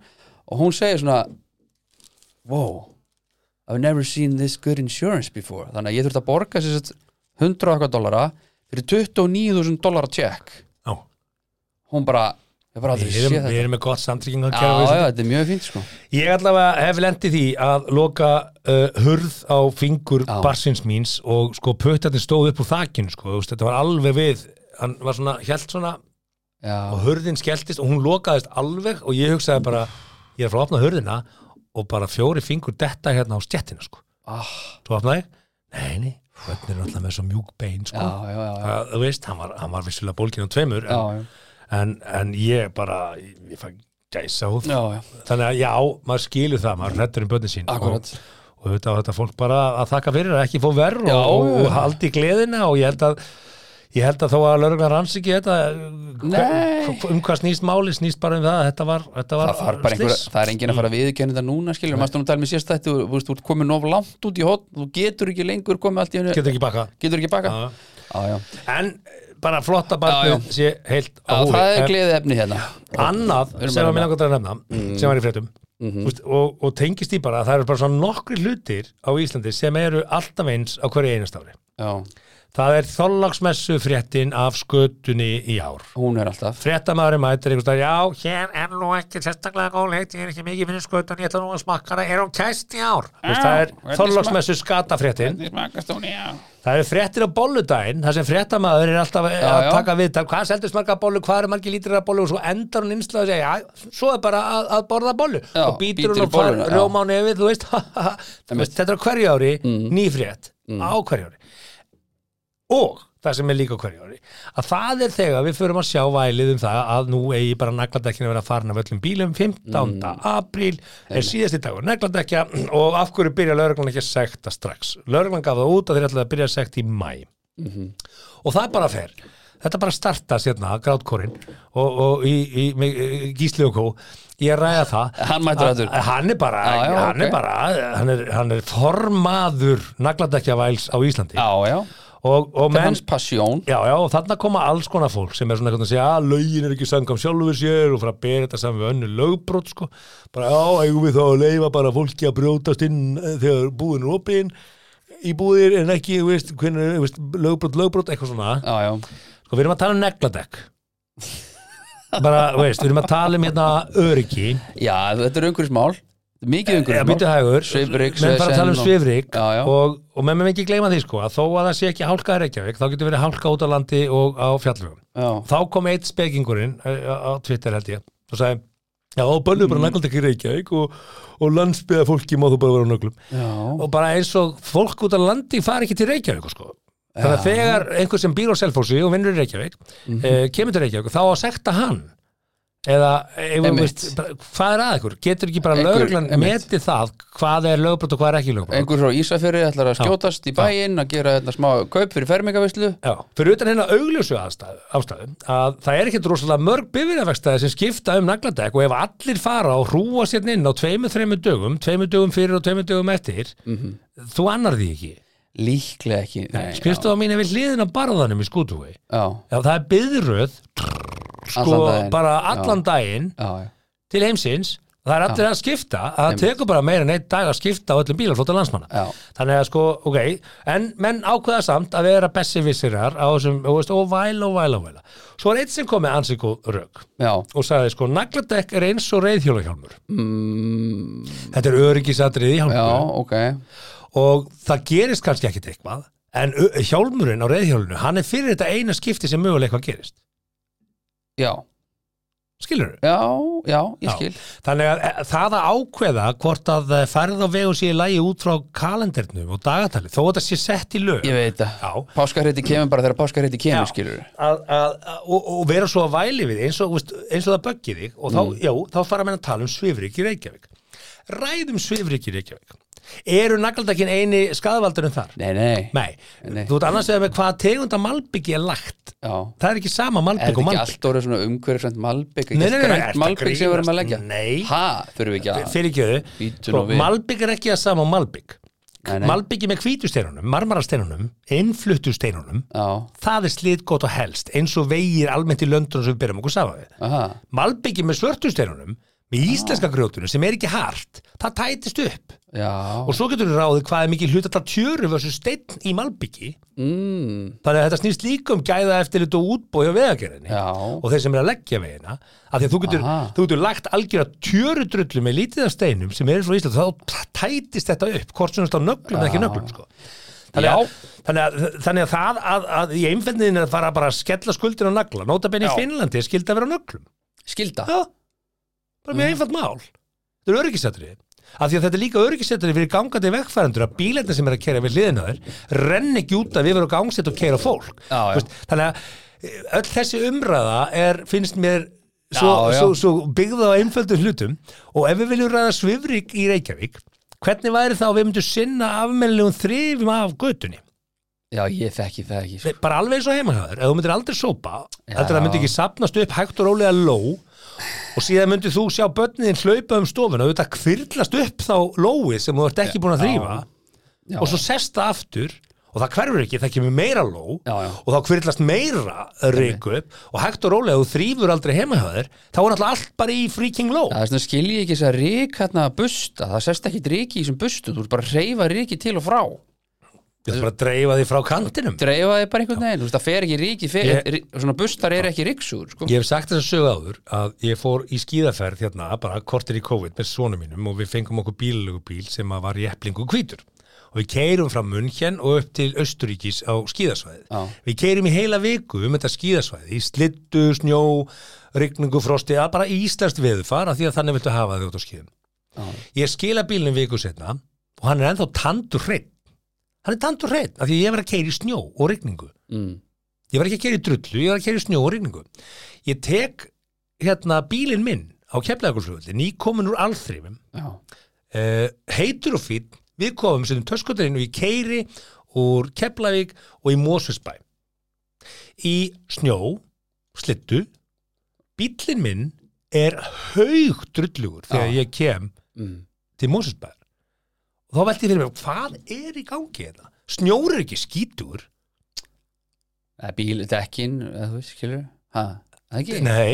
og hún segir svona wow I've never seen this good insurance before þannig að ég þurfti að borga sérst 100 og eitthvað dollara fyrir 29.000 dollara check Já. hún bara, ég bara aldrei Við séð erum, við þetta erum með gott samtryggingar Já, já, þetta er mjög fínt sko Ég allavega hef lendið því að loka uh, hurð á fingur Já. barsins míns og sko pötarnir stóð upp úr þakinu sko, þú veist, þetta var alveg við hann var svona, hjælt svona Já, og hurðin skelltist og hún lokaðist alveg og ég hugsaði bara, ég er að fara að opna hurðina og bara fjóri fingur detta hérna á stjettina sko. ah, Svo opnaði ég, nei, nei, hvernig er alltaf með svo mjúk bein já, sko. já, já, já, Það, þú veist, hann var, hann var vissulega bólkin á tveimur já, en, en, en ég bara, ég, ég fann gæsa húð. já, já, já. Þannig að já, maður skilur það, maður hrettur um börnin sín akkurat og, og auðvitað á þetta fólk bara að þakka fyrir að ekki fó verð Já, og, já, já. og haldi gleðina og ég held að Ég held að þó að lögreglan ranns ekki þetta hver- Nei. um hvað snýst máli snýst bara um það að þetta var, þetta var það, þarf bara Mm. einhver, slys. það er enginn að fara að viðurkenna þetta núna skilur, maður stóðum að tala um með sérstætti þú veist, þú ert komin of langt út í hot þú getur ekki lengur komið allt í hennu getur ekki bakka getur ekki baka Já. já, já. en bara flott að barnið sé heilt á Já, húfi það er En gleðið efni hérna annað erum sem bara Mm. Mhm. að minna gott að nefna sem var í fréttum úst, og, og tengist í bara að það eru bara svona nokkri hlutir á Íslandi sem eru alltaf eins á hverju einast ári já, það er þollagsmessu fréttin af skötunni í ár hún er alltaf fréttamaðurinn mætir einhvers dag, já, hér er nú ekki sérstaklega góð leikt, ég er ekki mikið fyrir skötun, ég ætla nú að smakka það, er hún kæst í ár Þú veist, það hvernig er þollagsmessu skatafréttin smakast hún, já Það eru fréttir á bolludaginn, þar sem fréttamaður er alltaf já, að já. taka viðtal, hvað seldur smarga bollu, hvað eru margir lítrar af bollu og svo endar hún innslag og segja, já, svo er bara að, að borða bollu Já, og býtur bítur hún í og far bolluna, já. rjóma á nefið, þú veist, þú veist þetta er á hverju ári, Mm. nýfrétt, á hverju ári. Og það sem er líka á hverju ári, að það er þegar við förum að sjá vælið um það að nú eigi bara nagladekkin að vera farin af öllum bílum, 15. Mm. apríl er síðasti dagur nagladekja og af hverju byrja lögreglan ekki að sekta strax. Lögreglan gaf það út að þeir ætlaði að byrja að sekta í mæ og það bara fer þetta bara starta sérna, grátkorinn og, og í, í, í, í Gísli og Kó ég er að ræða það Hann mættur aftur. Að- hann er bara, Já, já, hann, ok. er bara hann, er, hann er formaður nagladekjavæls á Íslandi já, já, og, og þetta er menn hans pasjón Já, já, og þarna koma alls konar fólk sem er svona eitthvað að segja að lögin er ekki sangam sjálfur sér og fara að bera þetta saman við önnu lögbrot sko. bara já, eigum við þá að leifa bara fólki að brjótast inn eh, þegar búðin er opinn í búðir en ekki, þú veist, hvernig, þú veist, lögbrot, lögbrot eitthvað svona, já, já, sko við erum að tala um negladekk bara, þú veist, við erum að tala um hérna öryggi, já, þetta er umhverfismál mikið eða umhverfismál býttu hægur Svifryk, menn bara að tala um SSN og- svifrik Já, já. og, og menn með ekki gleyma því sko að þó að það sé ekki hálka í Reykjavík, þá getur verið hálka út á landi og á fjallvögum já, þá kom eitt spekingurinn eh, á á Twitter held ég og sagði, já, bönnu Mm. bara naglaldi ekki Reykjavík og, og landsbyða fólki má þú bara vera á nöglum já, og bara eins og fólk út á landi fari ekki til Reykjavík sko. þannig að þegar einhver sem býr á Selfossi og vinnur í Reykjavík Mhm. eh, kemur til Reykjavík þá á að sekta hann eða, eða Einmitt. veist, bara, hvað er að ykkur? Getur ekki bara Einhver- lögreglan einmitt. metið það hvað er lögbrot og hvað er ekki lögbrot? einhver frá Ísafjöri ætlar að skjótast í bæinn að gera þetta smá kaup fyrir fermingavislu Já, fyrir utan hérna augljósu aðstæðu, ástæðu að það er ekkit rosalega mörg bifirafækstæði sem skipta um nagladekk og ef allir fara og hrúa sérna inn á tveimur, þreimur dögum tveimur dögum fyrir og tveimur dögum eftir Mhm. þú annar því ekki líklega ekki, nei, já, skrifstofa mín er við hliðin á barðanum í skútuvegi já, Já, það er byðröð sko, Allan daginn. bara allan daginn já, já. til heimsins, það er allir að skipta að það tekur bara meira en einn dag að skipta á öllum bílarflóta landsmanna Já. þannig að sko, ok, en menn ákveða samt að vera besservissirar á þessum, og veist, og væla og væla og væla svo er eitt sem kom með ansíku rök já. og sagði sko, nagladekk er eins og reyðhjólahjálmur mm. þetta er öryggisatrið í mm, já, hjálmur ok og það gerist kannski ekkit eitthvað en ö- hjálmurinn á reyðhjólinu, hann er fyrir þetta eina skipti sem mögulega eitthvað gerist já, skilur já, já, ég Já. skil Þannig að e, það að ákveða hvort að e, ferð á vegu sé í lagi út frá kalendernum og dagatalið, þó að það sé sett í lög Ég veit það Já. Páskarheiti kemur bara þegar páskarheiti kemur, Já. skilur að, að, að, og, og vera svo að væli við eins og, veist, eins og það böggir þig og þá, Mm. já, þá fara menn að tala um svifrik í Reykjavík Ræðum svifrik í Reykjavík Eru nagladakinn eini skadavaldurinn þar? Nei, nei, Nei, Nei. þú ert annars vegar með hvaða tegunda malbyggi er lagt já Það er ekki sama Er þetta malbygg og ekki malbygg allt orðið svona umhverfisvænt malbygg Nei, nei, nei, nei, Grænt ertu að malbygg sem við erum að grínast? leggja Nei. Ha, þurfum við ekki að Fyrir ekki Bíddu þau nú við. Malbygg er ekki að sama og malbygg Nei, nei. Malbyggi með hvítusteinunum, marmarasteinunum, innfluttusteinunum, Já, það er slitgótt og helst eins og vegir almennt í löndunum sem við byrjum okkur saman við. aha Malbyggi með svörtusteinunum, með íslenska grjótunum sem er ekki hart, það tætist upp. Já, Og svo getur við ráðið hvað er mikið hlutata tjöru versus steinn í malbyggi. mm, Þannig að þetta snýst líka um gæða eftir litt og útbói á vegagerðinni já og þeir sem er að leggja vegina af því að þú getur, Aha. þú getur lagt algjör tjörudrullu með lítið af steinum sem er frá Ísland þá tætist þetta upp hvort sem þetta á nöglum eða ekki nöglum sko. þannig, Já. að, þannig, að, þannig að það að, að í einfendinu er að fara bara að skella skuldin á nagla nota benni í Já. Finnlandi er skildi að vera á nöglum Skilda Mm. já, bara mjög einfalt mál þetta er öryggisætri af því að þetta er líka öryggisettari fyrir gangandi vegfærandur að bílarnir sem er að kera við hliðina á þér renn ekki út að við verum gangsett og kera fólk Já, já. Þú þannig að eh, öll þessi umræða er, finnst mér svo, Já, já. Svo, svo byggða á einföldum hlutum og ef við viljum ræða svifrik í Reykjavík hvernig væri þá að við myndum sinna afmennlegum þrifum af götunni já, ég þekki það ekki sko. Nei, bara alveg eins og heimahæður, ef þú myndir aldrei sópa Já. heldur það myndi ekki sapnast upp hægt og rólega ló og síðan myndir þú sjá börnin hlaupa um stofuna og þetta kvirlast upp þá lóið sem þú ert ekki búin að þrýfa já, og svo sest það aftur og það hverfur ekki, það kemur meira ló Já, já. og þá kvirlast meira reiku upp og hægt og rólega ef þú þrýfur aldrei heimahæður þá er alltaf allt bara í freaking ló það er svona skil ég ekki þess að rík hérna að busta, það sest ekki ríki í þessum bustu þú ert bara að reyfa ríki til og frá þú ert bara að dreifa því frá kantinum dreifa þið bara einhvern veginn, þú veist það fer ekki ríki fer, Ég- rí, svona bustar er ekki ríksúr sko. Ég hef sagt þess að sögu áður að ég fór í skíðaferð hérna bara kortir í COVID með sonu mínum og við fengum okkur bílalögu bíl sem að var jeplingu hvítur og við keirum frá München og upp til Östuríkis á skíðasvæði. Já. Við keirum í heila viku um þetta skíðasvæði í slittu, snjó, rigningu, frosti, að bara íslenskt veðufar af því að þannig viltu hafa þau út á skíðum. Ég skila bílnum viku setna og hann er ennþá tandur hreitt. Hann er tandur hreitt af því að ég var að keira í snjó og rigningu. mm. Ég var ekki að keyra í drullu, ég var að keyra í snjó og rigningu. Ég tek hérna bílinn minn á keflaðakursflugulli, nýkomin úr alþrifum, já, uh, heitur og fýtt, við komum sem töskutarinn og ég keyri úr Keflavík og í Mósfisbæ. Í snjó, slittu, bílinn minn er haug drullugur þegar Já. ég kem mm. til Mósfisbæðar. Og þá velti ég fyrir mér, hvað er í gangi hérna? Snjór er ekki skítur. Það er bíl, dekkin, eða þú veist, skilur ha, það ekki? Nei,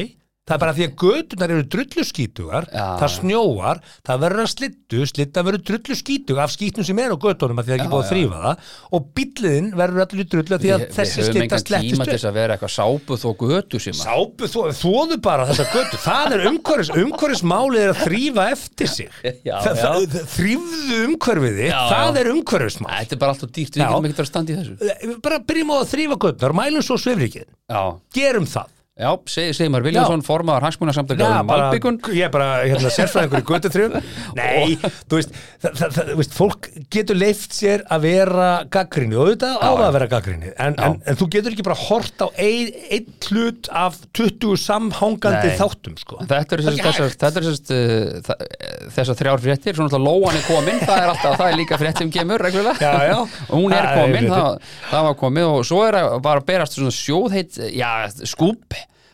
það er bara því að gödunar eru drulluskítugar, Já. það snjóar, það verður að slittu, slitta verður drulluskítug af skítnum sem er á gödunum að því að ekki Já, er búið að já. þrýfa það og bíllinn verður allir í drullu af því að Við- þessi Við höfum slitta engan tíma til slettist þess upp. að vera eitthvað sápu þó götu sem að Sápu, þó, þóðu bara þessa götu, það er umhverfis, umhverfismálið er að þrýfa eftir sig. Já, það, já. Það, það, þrýfðu umhverfiði, Já, það já. er umhverfismál. Þetta er bara alltaf dýrt, við Já. getum ekki að standa í þessu Bara byrjum á að þrýfa götunar, mælum svo svifrikið, Já, gerum það. já seg, segir maður Viljánsson, formaður hagsmunasamtaka Já, um bara, Malbyggun ég er bara hérna, sérfræðingur í göttutrjum Nei, þú veist, það, það, það, þú veist fólk getur leift sér að vera gaggrinni og auðvitað á það að vera gaggrinni en, en, en þú getur ekki bara hort á ein- einn hlut af 20 samhangandi Nei. þáttum sko. Þetta eru Það sérst er ekki þessar, þetta eru sérst uh, það- eh, þessar þrjár fréttir, svona alltaf lóan er komin það er alltaf, það er líka frétt sem kemur reglulega Já, já. og hún er Það er komin, fréttir. það, það var komin og svo er að bara berast svona sjóðheit já, skúb,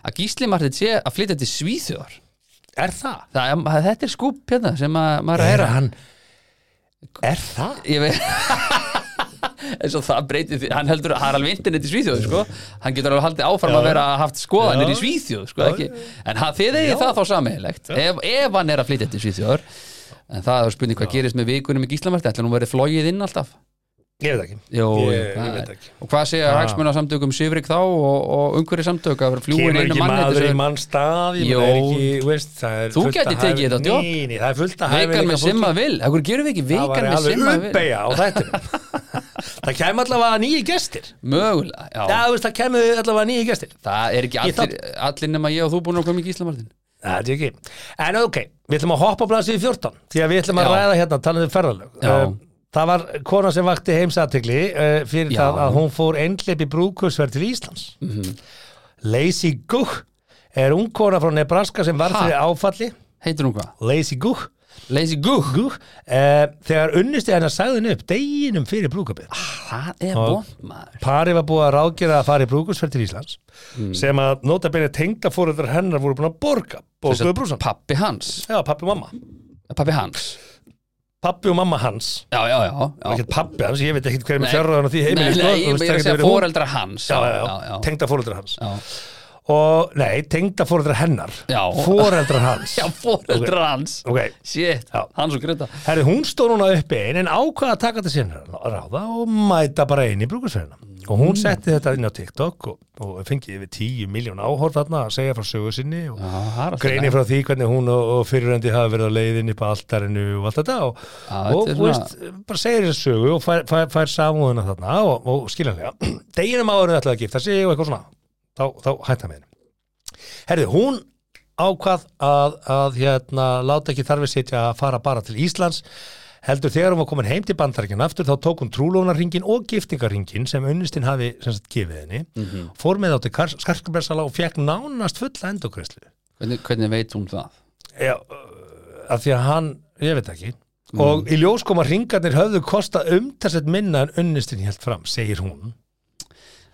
að Gísli Martins sé að flytja til Svíþjóðar Er það? það, er- þetta er skúb hérna sem að, maður er að Er heyra hann Er það? ég veit eins og það breytir því, hann heldur að það er alveg internet í Svíþjóð sko. hann getur alveg haldið áfram að vera haft skoðanir Já. í Svíþjóð sko, ekki. en hann, þið eigi það þá sammeilegt ef, ef hann er að flytja til Svíþjóðar en það er spurning hvað gerist með vikunum í Gíslamarti ætla nú verið flogið inn alltaf Ég veit ekki Jó, Ég- jú, ég það veit er- ekki. og hvað segja hagsmuna samtökum Sifrik þá og, og umhverju samtök að vera fljúin Kemur inn ekki um maður í mann mann stað ég meina, Jó. er ekki, þú veist, það er Þú fullt gæti að tekið hæfi- þetta á djók. Nei, nei, það er fullt að hæfileika vegan með fólki. simma vil, ekkur gerum við ekki Það vegan væri með simma alveg vil uppeja á þetta Það kæm allavega nýju gestir mögulega, já, Já, þú veist, það kemur allavega nýju gestir það er ekki Ég allir, allir nema ég og þú búin að koma í Gíslamartin Það er ekki En ok, við ætlum að hoppa á blaðsíðu 14 Því að við ætlum að Já. ræða hérna, talaðu ferðalög Já. Um, Það var kona sem vakti heimsatikli uh, fyrir Já. Mhm. það að hún fór einhleip í brúkursverð til Íslands Lazy Gugh er ung kona frá Nebraska sem var Ha? fyrir áfalli heitir hún hvað? Lazy Gugh Lazy Gugh Gugh, uh, þegar unnusti hennar sagði henni upp deginum fyrir brúkabið Það er vond maður Pari var búið að ráðgera að fara í brúkusferð til Íslands Mm. sem að nota beinni tengda fóruður hennar voru búin að borga bókuðu brúsan. Pappi hans Já, pappi og mamma. Pappi hans Pappi og mamma hans. Já, já, já, já. Ekkert pappi hans, ég veit ekkert hver er Nei. með fjárraðan á því heimili. Nei, sko. nei, Þú ég meira veist, að það getur segja verið hún. foreldrar hans Já, já, já, já, já. tengda fóruður hans. Já. Og, nei, tengda fóruður hennar. Já. Fóreldrar hans. Já, foreldrar hans Ok, Shit, Já. hans og Greta herri, hún stóð núna uppi einn en ákvaða að taka þetta sinna ráða og mæta bara einn í brúkusferðina. Og Mm. hún setti þetta inn á TikTok og, og fengið yfir 10 miljón áhorf þarna að segja frá sögu sinni og Já, það er allt í greinir lagi. frá því hvernig hún og, og fyrirrendi hafa verið á leiðinni upp á altarinu og allt þetta og, Já, og þetta er þú veist, bara segir þessu sögu og fær, fær, fær samúðuna þarna og, og skiljanlega deginum áður ætlaði að gifta sig og eitthvað svona þá, þá hætta með henni herði, hún ákvað að, að hérna, láta ekki þarfið sitja að fara bara til Íslands heldur þegar hún var komin heim til bandaríkjan aftur þá tók hún trúlónarringin og giftingarringin sem unnistinn hafi sem sagt, gefið henni Mhm. fór með á til skarkabressala og fekk nánast fulla endokreslu hvernig, hvernig veit hún það? Já, að því að hann, ég veit ekki Mm. og í ljós kom að ringarnir höfðu kosta umtalsett minna en unnistinn helt fram, segir hún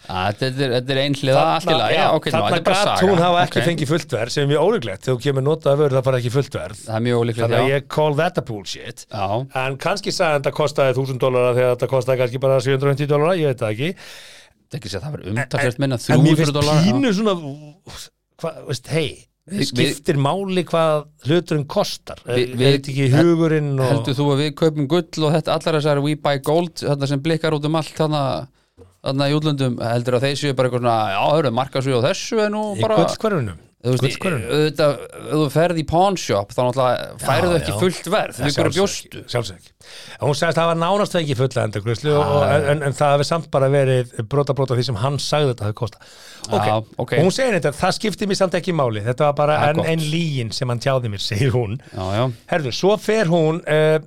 Að, þetta, er, þetta er einhliða allirlega, já, ok, nú, þetta þarna er bara gat saga hún hafa ekki Ok. fengið fulltverð sem er mjög ólíklegt, þegar þú kemur notað að vörða bara ekki fulltverð Það er mjög þannig ólíklegt, að já ég call that a bullshit Já, en kannski sagði hann það kostaði 1000 dólara þegar þetta kostaði kannski bara 750 dólara, ég veit það ekki þetta er ekki að segja, það verður umtalsvert minna en mér 300 finnst dólar pínu svona hvað, veist, hei Við- skiptir máli hvað hluturinn kostar Við- við, við- veit ekki hugurinn og... Heldur þú að við kaupum gull og þetta allar þessar We Buy Gold þarna sem blikkar út um allt þarna, þarna í útlöndum heldur að þeir séu bara eitthvað svona já, hörðu, markasvið á þessu en nú í bara gullkvarunum þú veist, eh, gullkörfunni. auðvitað, ef þú ferð í pawn shop þá náttúrulega færðu Já, ekki já. fullt verð við hverju bjóstu sjálfsög hún sagðist að það var nánast ekki fulla endurgrislu Ah. en, en, en það hefði samt bara verið brota brota því sem hann sagði þetta hefði kosta ok, Já, ok. Og hún segir þetta, það skipti mér samt ekki máli þetta var bara Það er enn gott. en lígin sem hann tjáði mér, segir hún já, já, herðu, svo fer hún uh,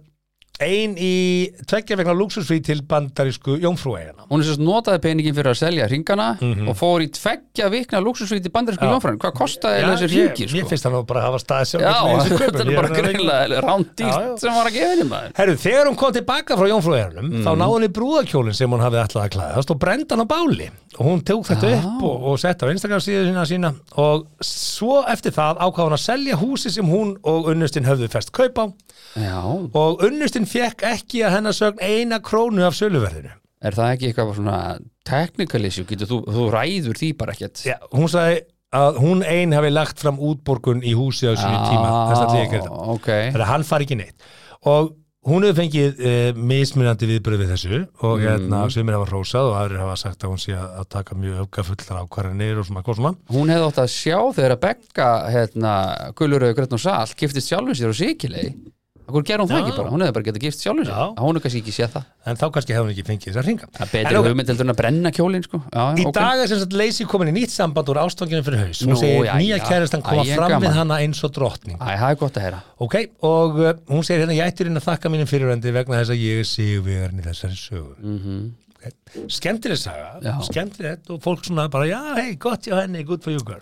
ein í tveggja vegna lúksusfrí til bandarísku jómfrúegina hún er sérst notaði peningin fyrir að selja ringana Mhm. og fór í tveggja vikna luxusvíti bandarísku jónfræðin, hvað kostaði eiginlega þessi ég, ringir mér sko? finnst hann nú bara að hafa staðið sjálf já, með þessum kaupum. þetta er Ég bara alveg- greinlega Já, já. rándýrt sem var að gefa henni maður Herru, þegar hún kom tilbaka frá Jónfrúðarunum þá náði hún í brúðakjólinn sem hún hafði alltaf að klæðast og brenda hann á báli og hún tók þetta upp og, og sett á Instagram síðu sína sína og svo eftir það ákvað hún að selja húsi sem hún og unnustinn höfðu fest kaup á já, og unnustinn fekk ekki að hennar sögn eina krónu af söluverðinu. er það ekki eitthvað svona technical issue, getur þú, þú ræður því bara ekkert Já, hún sagði að hún ein hafi lagt fram útborgun í húsi á sinni tíma, þess að því ekki þetta. Ah, ok, Þannig að hann fari ekki neitt og hún hefur fengið e, mismunandi viðbröð við þessu og Mhm. hérna sem er hafa hrósað og aðrir hafa sagt að hún sé að að taka mjög öfgafullar ákvarðanir og svona hvað svona hún hefði átt að sjá þegar að Begga hérna, Gulluröðu Gretn og Sall giftist sjálfum sér og Sikilei Hvor gerði hún það ekki bara? Hún hefði bara getað gift sjálfum sér Já. að Hún hefði kannski ekki séð það en þá kannski hefur hún ekki fengið þess að ringa Það er betri hugmynd heldur en að brenna kjólin sko. já, já, Í ok. dag er sem sagt Lacey komin í nýtt samband úr ástofngjörnum fyrir haus hún Nú, segir jæja. nýja kærastan koma Æ, ég er fram gaman. við hana eins og drottning Æ, það er gott að heyra ok, og uh, hún segir hérna ég ættir inn að þakka mínum fyrirvendi vegna þess að ég er sigurvegarinn í þessari sögu mm -hmm. skemmtileg Já. saga skemmtilegt og fólk svona bara já, hei, gott hjá henni, good for you girl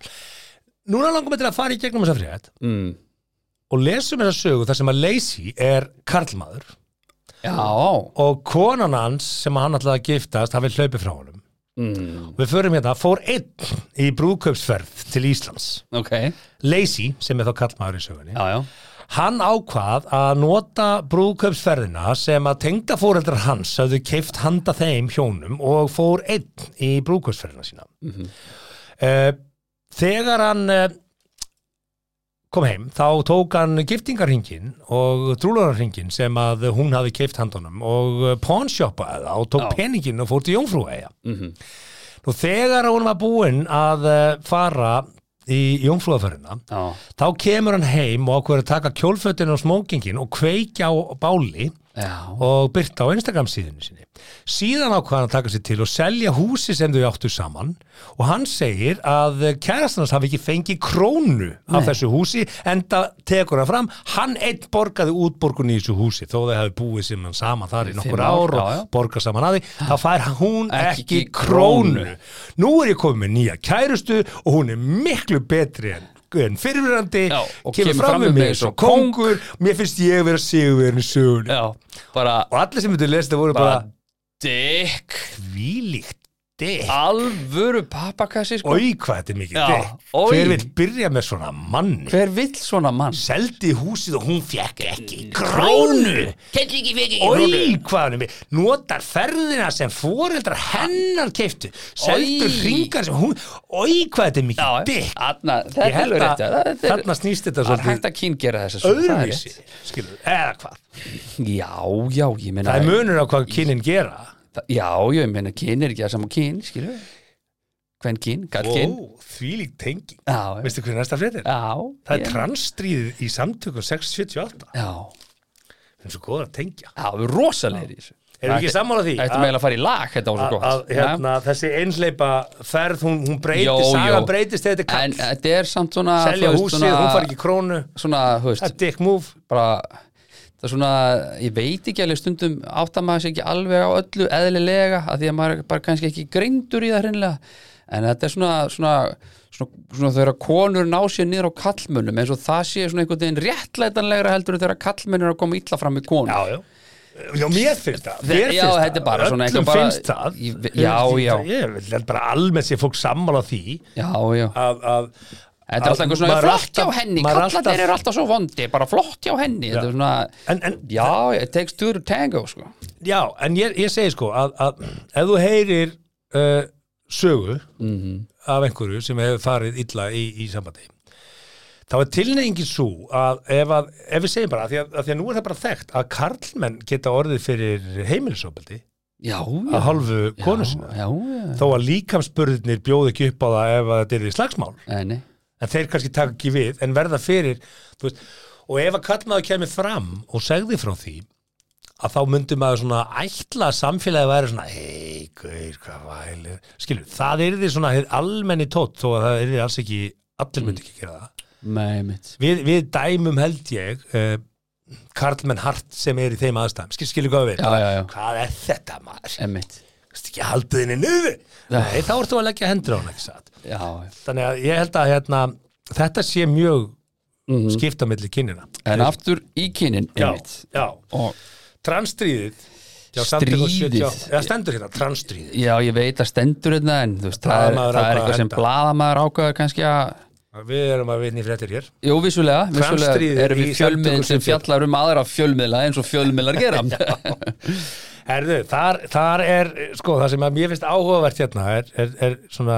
núna langum við til að fara í gegnum þessa frétt mm. og lesum þessa sögu þar sem að Lacey er karlmaður Já og konan hans sem hann ætlaði að giftast hafi hlaupið frá honum mm. við förum hérna, fór einn í brúðkaupsferð til Íslands Ok, Lacey, sem er þá karlmaður í sögunni já, já Hann ákvað að nota brúðkaupsferðina sem að tengda fóreldrar hans hafðu keift handa þeim hjónum og fór einn í brúðkaupsferðina sína. Mm þegar hann eh, kom heim, þá tók hann giftingarhingin og trúlunarhingin sem að hún hafði keift handunum og eh, pawnshoppaði það og tók Já. peningin og fór til Jónfrúeja. mm -hmm. Nú þegar hún var búin að eh, fara í Jónfrúaferðina, Já, þá kemur hann heim og ákveður að taka kjólfötin og smókingin og kveikja á báli já og byrta á Instagram síðinu sinni. Síðan ákvað hann að taka sér til og selja húsi sem þau áttu saman og hann segir að kærastannars hafi ekki fengið krónu af þessu húsi en það tekur hann fram, hann einn borgaði útborgun í þessu húsi þó þau hafi búið sem hann saman þar í nokkur Fimm ár, ár já, já. og borgað saman að því, þá fær hún Ekki ekki krónu. krónu. Nú er ég komið með nýja kærustu og hún er miklu betri en en fyrirverandi, Já, kemur, og kemur fram við mig eins og kongur, mér finnst ég vera sigurverðin í sögunni Já, bara og allir sem myndu lesa þetta voru bara, bara Dick þvílíkt dikk Alvöru pappakassi sko. Í "Ah, hvað þetta er mikið Já, dikk oj. Hver vill byrja með svona manni Hver vill svona mann? Seldi húsið og hún fjekk ekki krónu Kætti ekki fyrir Í hvað hann er mikið Notar ferðina sem foreldrar hennar keiftu Seldur Oj. hringar sem hún Í hvað þetta er mikið dikk Þarna, þetta Ég er held alveg að rétt já, þetta er- þarna snýst þetta Það er hægt svolítið að kyngera þessa sögu, það er öðruvísi skilur, eða hvað rétt. Já, já, ég meina Það er munur á hvað kynin gera það- Já, já, ég meina kyn er ekki það saman kyn, skilur við Hvern kyn, kall kyn Ó, þvílík tenging Já, Veistu hvernig næsta frétt er? já Það er ég- transstríðið í samtökum 678 Já, Það er svo góður að tengja já, við erum rosalegir í þessu Heyrðu, Erum við ekki Þetta- sammála því? Þetta Að- meðlega að fara í lag, þetta var svo að, gott að hérna, þessi einhleipa ferð, hún, hún breytist, saga breytist þegar þetta En er kall, þetta er samt svona selja þú veist, húsið, svona- hún far ekki krónu Svona, þú það er veist, dick move bara Það er svona, ég veit ekki alveg stundum átta maður sér ekki alveg á öllu eðlilega að því að maður er bara kannski ekki greindur í það hreinlega en þetta er svona, svona, svona, svona þegar konur ná sér niður á kallmönnum eins og það sé svona einhvern veginn réttlætanlegra heldur en þegar kallmönnur er að koma illa fram í konum já, já Já, mér finnst það, Þe- mér já, finnst þetta er bara svona öllum eitthvað bara- finnst það Ég- já, já. Ég vil held bara almennt sé fólk sammála því já, já. að, að Þetta er alltaf einhver svona maður flott hjá alltaf- henni, maður kallarnir eru alltaf svo vondi, bara flott hjá henni, þetta er svona, En, en, já, it takes two to tango, sko. já, en ég, ég segi sko að, að ef þú heyrir uh, sögu af einhverju sem hefur farið illa í, í sambandi þá er tilnefingin svo að ef, að ef við segjum bara, að því að, að því að nú er það bara þekkt að karlmenn geta orðið fyrir heimilisofbeldi Já, að já, hálfu konu sinna já, já, þó að líkamspörðinir bjóð ekki upp á það ef að þetta er í slagsmál enni, en þeir kannski taka ekki við en verða fyrir þú veist, og ef að kallmaður kemur fram og segði frá því að þá myndi maður svona ætla að samfélagi væri svona hei, guður, hvað væli skilur, það er því svona hið almenni tótt þó að það er því alls ekki allir myndi ekki gera það með mitt. við, við dæmum held ég uh, karlmenn hart sem er í þeim aðstæðum skilur, skilur hvað við Já, já, já, hvað er þetta maður? emmitt, Kannst ekki haldið henni niður Nei, þá ertu að leggja hendur á hann ekki satt já, já. þannig að ég held að hérna, þetta sé mjög mm. skipta milli kynina en aftur í kynin, já, emmitt, já, og transstríðið já, samtökum Stríðið. 70 eða stendur hérna, transstríðið já, ég veit að stendur þetta, en þú veist, það er, Blaðamaður það ákvað er að eitthvað sem henda. blaðamaður ákvæður kannski að, við erum að vinna í fréttir hér jú, vissulega, Kvenstríðið vissulega erum í við fjölmiðin samtökum sem sem fjall- fjallar um aðra fjölmiðla eins og fjölmiðlar gera. Herðu, þar, þar er, sko, það sem að mér finnst áhugavert hérna er, er, er svona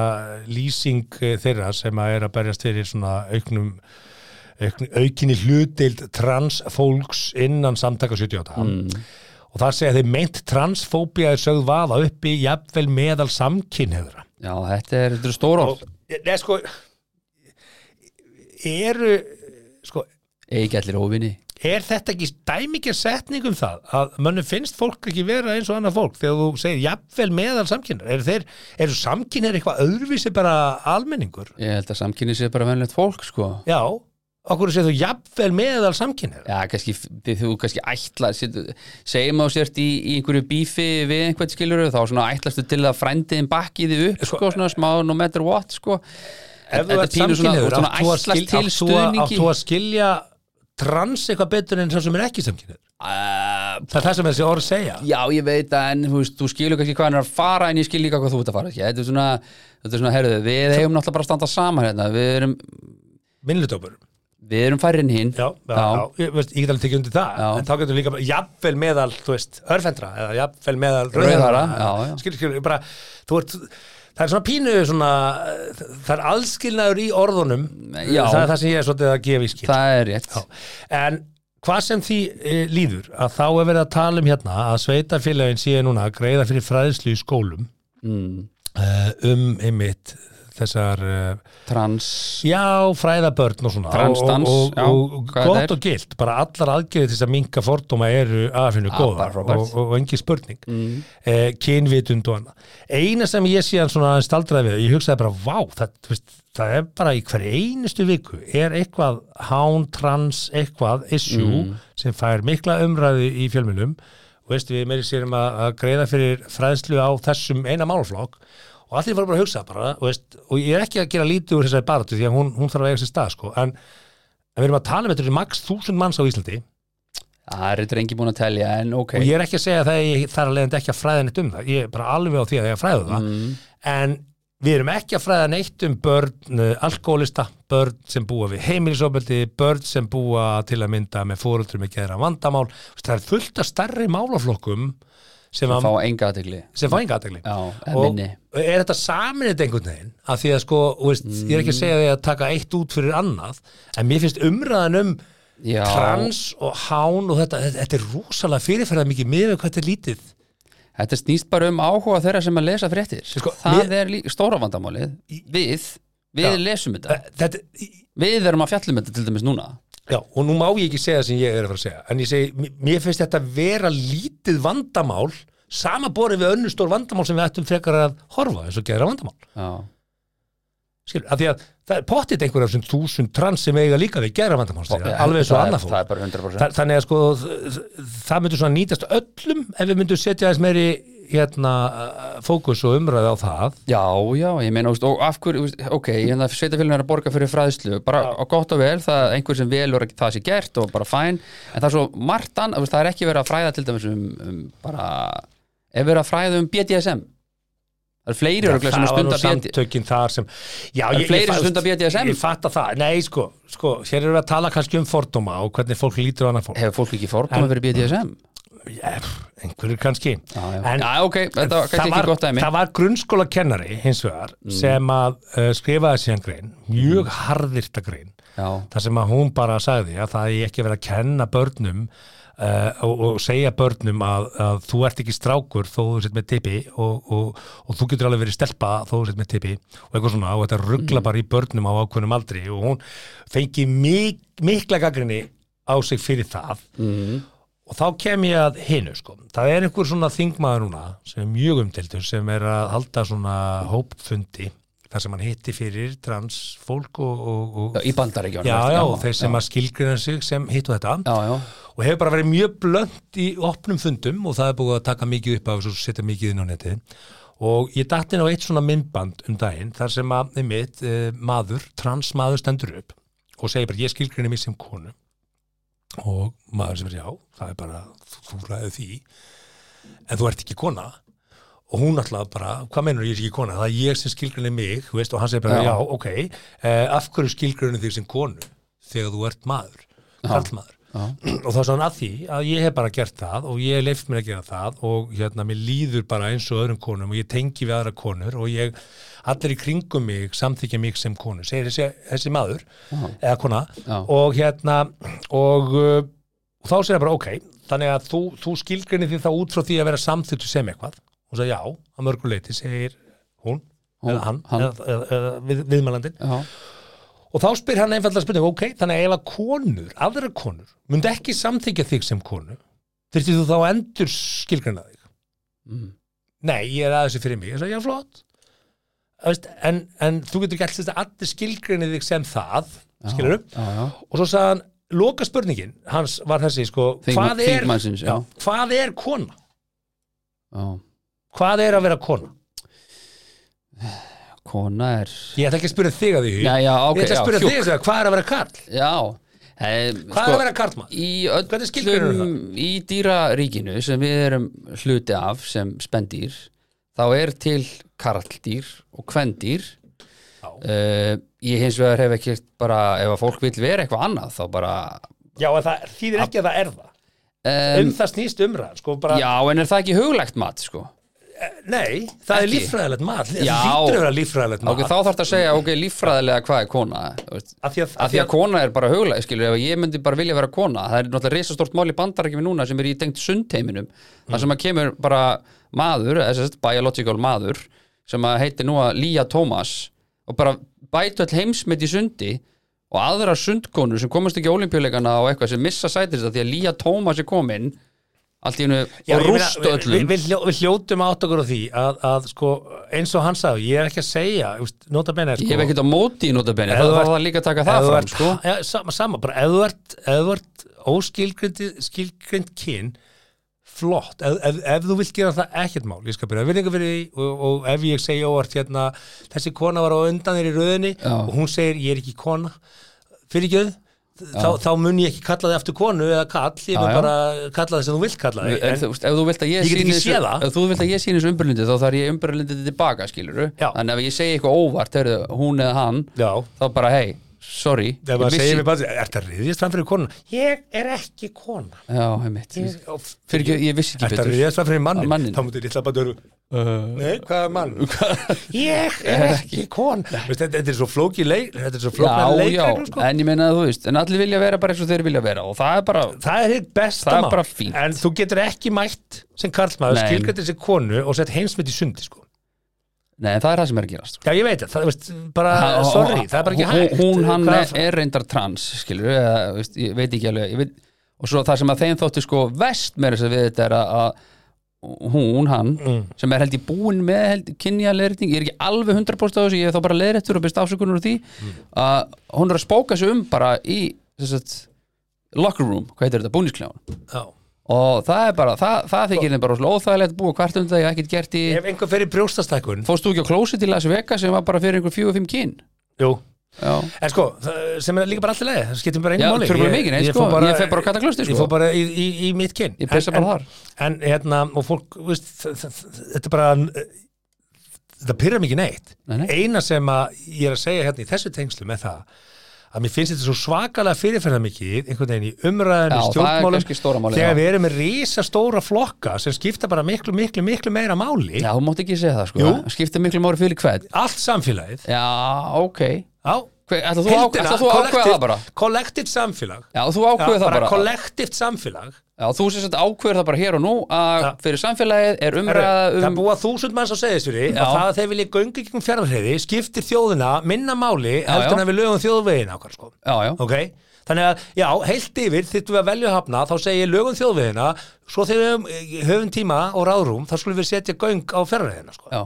lýsing eh, þeirra sem að er að berjast fyrir svona auknum aukn, aukinni hlutild transfólks innan samtaka 78 og þar segja þeir meint transfóbía er sögð vaða uppi jafnvel meðal samkynniðra Já, þetta er, þetta er stóra orð, Nei, sko eru sko, eigi allir óvinni. er þetta ekki dæmikir setning um það að mönnum finnst fólk ekki vera eins og annað fólk þegar þú segir jafnvel meðal samkynnar eru þeir, eru samkynnar eitthvað öðruvísi bara almenningur? Ég held að samkynni sé bara venlegt fólk sko Já, okkur segir þú jafnvel meðal samkynnar? Já, kannski, þið- þú kannski ætla setur- segjum á sért í, í einhverju bífi við einhvern skilur þá svona ætlastu til að frændiðin bakki þið upp sko, svona smá no matter what sko En Ef þú þetta ert pínu svona- samkynniður, svona áttu að ætlast skil- til áttu að- stuðningi. áttu að skilja trans eitthvað betur en það sem er ekki samkynnar? uh, Það er það sem þessi orð segja. Já, ég veit að en þú, veist, þú skilur kannski hvað hann er að fara en ég skil líka hvað þú ert að fara ekki? Þetta er svona, þetta er svona, herðu, við eigum náttúrulega bara að standa saman hérna við erum, Minnlutópur. við erum færinn hinn Já, já, já. Ég, veist, ég get alveg tekið undir það Já. en þá getur líka, bara, jafnvel meðal, þú veist örfendra, eða jafnvel meðal Rauðhærðra, já, já. skilur, skilur, bara þú ert, það er svona pínu svona, það er allskilnaður í orðunum Já. það er það sem ég er svolítið að gefa í skil Það er rétt Já. En hvað sem því e, líður að þá er verið að tala um hérna að sveitarfélagin sé núna að greiða fyrir fræðslu í skólum mm. um einmitt þessar uh, Trans já, fræðabörn og svona Transdans, og, já, og, og hvað þetta gott er. og gilt, bara allar aðgerðið til þess að minka fordóma eru aðfinnu Ah, góða bara og, frábært. og, og engin spurning mm. eh, kynvitund og annað eina sem ég síðan svona aðeins staldraði við ég hugsaði bara, vá, það, þú veist, það er bara í hver einustu viku er eitthvað hán, trans, eitthvað issue Mm. sem fær mikla umræði í fjölmjölum og veist við meiri sérum að, að greiða fyrir fræðslu á þessum eina málflokk og allir fóru bara að hugsa bara og, veist, og ég er ekki að gera lítið úr þessari baratu því að hún, hún þarf að eiga sér stað sko. en, en við erum að tala um þetta er maks þúsund manns á Íslandi Það er þetta engi búin að telja en ok og ég er ekki að segja það að ég þarf að leiðandi ekki að fræða neitt um það ég er bara alveg á því að ég að Mm. fræða það en við erum ekki að fræða neitt um börn eh, alkoholista, börn sem búa við heimilisofbeldi, börn sem búa til að mynda með fóruldrum með geðra vandamál Þú veist, það er fullt af starri málaflokkum sem, að að, fá enga aðtegli sem fá enga aðtegli Já, eða og minni er þetta saminit einhvern veginn af því að sko, þú veist, ég er ekki Mm. að segja því að taka eitt út fyrir annað en mér finnst umræðan um Já, trans og hán og þetta, þetta, þetta er rosalega fyrirferðar mikið miður hvað þetta er lítið þetta snýst bara um áhuga þeirra sem að lesa fréttir Sko, það mér- er líka stóra vandamálið við, við lesum þetta þetta, við erum að fjallum þetta til dæmis núna já, og nú má ég ekki segja það sem ég er að fara að segja en ég segi, m- mér finnst þetta vera lítið vandamál sama borið við önnur stór vandamál sem við ættum frekar að horfa eins og geðra vandamál já, skilur, af því að það er pottitt einhver af þessum þúsund trans sem eiga líka við geðra vandamál skilur, alveg eins og það er- annað fólk það er bara 100% Þa, þannig að sko þ- það myndur svona nýtast öllum ef við myndum setja aðeins meiri hérna, uh, fókus og umræði á það Já, já, ég meina, þú veist, og af hverju, þú veist, ok, ég meina að sveitafélagin er að borga fyrir fræðslu, bara og gott og vel, það er einhver sem velur að það sé gert og bara fæn, en það er svo martan, þú veist, það er ekki verið að fræða til dæmis um, um bara, er verið að fræða um BDSM, það er fleiri öruglega sem það var nú stundar BDSM, samtökin þar sem já, Það eru fleiri sem fatt- stunda BDSM. ég fatt það, nei sko, sko hér erum við að tala kannski um fordóma og hvernig fólk lítur á annað fólk hefur fólk ekki fordóma fyrir BDSM? yeah, einhverjur kannski Já, já, En- já, ok, þetta var kannski það ekki var, gott dæmi, Mm. það var grunnskóla kennari hins vegar sem að uh, skrifaði síðan grein mjög mm. harðirta grein já, þar sem að hún bara sagði að það er ekki verið að kenna börnum uh, og, og segja börnum að, að þú ert ekki strákur þó þú sett með tippi og, og, og þú getur alveg verið stelpa þó þú sett með tippi og eitthvað svona og þetta ruggla bara í börnum á ákveðnum aldri og hún fengi mik mikla gaggrinni á sig fyrir það og þá kem ég að hinu sko. það er einhver svona þingmaður núna sem er mjög umtildur sem er að halda svona hópfundi þar sem hann hitti fyrir trans fólk og, og, og já, í bandaríkjónum, já, já, og þeir sem að skilgrina sig sem hittu þetta já, já, og hefur bara verið mjög blönt í opnum fundum og það er búið að taka mikið upp af þessu og setja mikið inn á netið og ég datt inn á eitt svona myndband um daginn þar sem að mitt eh, maður, transmaður stendur upp og segir bara ég skilgrinni mig sem konu og maður sem er já, það er bara þú, þú ræði því en þú ert ekki kona og hún alltaf bara, hvað meinur ég er ekki kona það er ég sem skilgrinni mig, þú veist, og hann segir bara Já. já, ok, eh, af hverju skilgrinni þig sem konu þegar þú ert maður kallmaður og þá svona að því að ég hef bara gert það og ég hef leift mér að gera það og hérna, mér líður bara eins og öðrum konum og ég tengi við aðra konur og ég, allir í kringum mig samþykja mig sem konu, segir þessi, þessi maður eða kona Já. og hérna og, uh, og þá segir það bara ok þannig að þú, þú skilgrinni því þá út frá því að vera samþyktu sem eitthvað og svo já, að mörgu leiti segir hún, Hún, eða hann, hann. eða, eða, eða við, viðmælandin já, Og þá spyr hann einfallega spurning, ok, þannig að ef að konur, aðra konur, myndi ekki samþykja þig sem konu, þyrftir þú þá að endur skilgrana þig? Mm. Nei, ég er aðeins fyrir mig. Ég sagði, já, flott. Þú Veist, en, en þú getur gælt þess að allir skilgrana þig sem það, skilur já, já, Og svo sagði hann, loka spurningin, hans var þessi, sko, Þing- hvað er, þingmannsins, já. hvað er kona? já, Hvað er að vera kona? kona er, Ég ætla ekki að spyrja þig að því. já, já, ok, ég ætla já, að spyrja hjúk. þig að því, hvað er að vera karl? Já eh, Hvað er að vera karlmann? Í Hvernig skilgreinirðu öllum í dýraríkinu sem við erum hluti af sem spendýr þá er til karldýr og kvendýr uh, Ég hins vegar hef ekki bara ef að fólk vil vera eitthvað annað þá bara Já, en það þýðir ekki að það er það. um, um það snýst umræðan sko, bara, Já, en er það ekki huglægt mat sko? nei, það er Ekki. líffræðilegt mat það Já. lítur að vera líffræðilegt mat Okay, þá þarf það að segja, ok, líffræðilega hvað er kona þú veist. af því að, að því að kona er bara huglega skilur, ef ég myndi bara vilja vera kona það er náttúrulega risastort mál í bandarækjum núna sem er í tengt sundheiminum Mm. þar sem að kemur bara maður eða sem sagt biological maður sem að heitir nú að Lía Thomas og bara bætu all heimsmet í sundi og aðra sundkonur sem komast ekki á olimpíuleikana og eitthvað sem missa sætist að því að Lía Thomas er komin allt í hennu Já, og ég meina, rúst við, við, öllum við, hljó- við hljótum átt okkur á því að, að sko, eins og hann sagði, ég er ekki að segja þú veist, nota benni sko, ég hef ekkert á móti í notabenni Ef það þú var ert- það líka að taka ef það þú fram ert- sko. ja, sama, sama, bara ef þú ert- ef þú ert óskilgrind kyn flott, ef, ef, ef þú vilt gera það ekkert mál, ég skal byrja virðingu fyrir því og, og ef ég segja óvart hérna þessi kona var á undan þér í röðinni og hún segir ég er ekki kona fyrir ekki Þá, þá mun ég ekki kalla þið aftur konu eða kall, ég Já, mun já. bara kalla þið sem þú vilt kalla þið ef, þú- ef þú vilt að ég Ég get sýni ekki séð það. ef þú vilt að ég sýni þessu umbyrlindi þá þarf ég umbyrlindi tilbaka skiluru Já. þannig ef ég segi eitthvað óvart heyrðu, hún eða hann Já. þá bara hei, sorry Ef maður ég segir vissi- mér bara, er þetta riðjast fram fyrir konu? Ég er ekki kona. já, heimitt Ég, og, fyrir ekki, ég vissi ekki Þetta er betur riðast fram fyrir mannin, Að manninum. þá mútið lilla bara dörru Nei, hvað er mann? ég er ekki kon Veist, þetta, þetta er svo flóki leik Þetta er svo flóknar já, já, leikreglur sko. en ég meina að þú veist en allir vilja vera bara eins og þeir vilja vera og það er bara Það er hitt besta Það er mál. bara fínt. En þú getur ekki mætt sem karlmaður, Nei. skilgætt þessi konu og sett heimsmynd í sundi sko. nei, það er það sem er að gerast sko. Já, ég veit það, það veist, bara, Ha- Ah, og- sorry, og- það er bara ekki hún- hægt hún, hann Hvað er, er reyndar trans skilur, eða, veist, ég veit ekki alveg ég veit, og svo það sem að þeim þótti sko vest með þess að við þetta er að, að hún, hann, Mm. sem er held ég búin með held, kynja leirreiting, ég er ekki alveg 100% á þessu, ég er þá bara leirreittur og byrst afsökunar úr því, Mm. að hún er að spóka sig um bara í sem sagt, locker room, hvað heitir þetta, búnisklján Já. og það er bara, það, það þykir þeim bara rosalega óþægilegt búið kvart um það, ég hef ekkert gert í Ef einhver fer í brjóstastækun fórstu ekki á klósi til Las Vegas sem var bara fyrir einhver 4-5 kyn Jú Já. En sko, það- sem er líka bara allir leið Það skiptir bara Já, engum máli truflar mig ekki neitt, sko. fór Ég fer bara á kallaklausti, sko. Ég fór bara í, í, í mitt kyn Ég pissa bara en, En hérna, og fólk, veist þ- þ- þ- Þetta er bara Þetta pyrra mikið neitt Nei, nei. Eina sem að ég er að segja hérna í þessu tengslu með það að mér finnst þetta svo svakalega fyrirferða mikið einhvern veginn í umræðinu, Já, það er stjórnmálum kannski stóra málið, já. þegar við erum með risastóra flokka sem skipta bara miklu, miklu, miklu meira máli Já, þú mátt ekki segja það sko Jú. Það skiptir miklu mári fyrir hvern allt samfélagið Já, ok á Hver- Ætla þú, ák ætla þú ákveða það bara kollektivt samfélag Já, þú ákveða það bara kollektivt samfélag Já, þú sem sagt ákveður það bara hér og nú að Já. fyrir samfélagið er Herru, umræða það um búa þúsund manns á seðisveri Já. og það að þeir vilja göngu gegn fjárhreiði skiptir þjóðina minna máli heldur já. en að við lögum þjóðvegin okkar sko. Já, já, okay? þannig að já, heilt yfir þyrftum við að velja að hafna þá segi ég lögum þjóðvegina svo þegar við höfum- eh, höfum tíma og ráðrúm þá skulum við setja göng á fjárhreiðina sko. já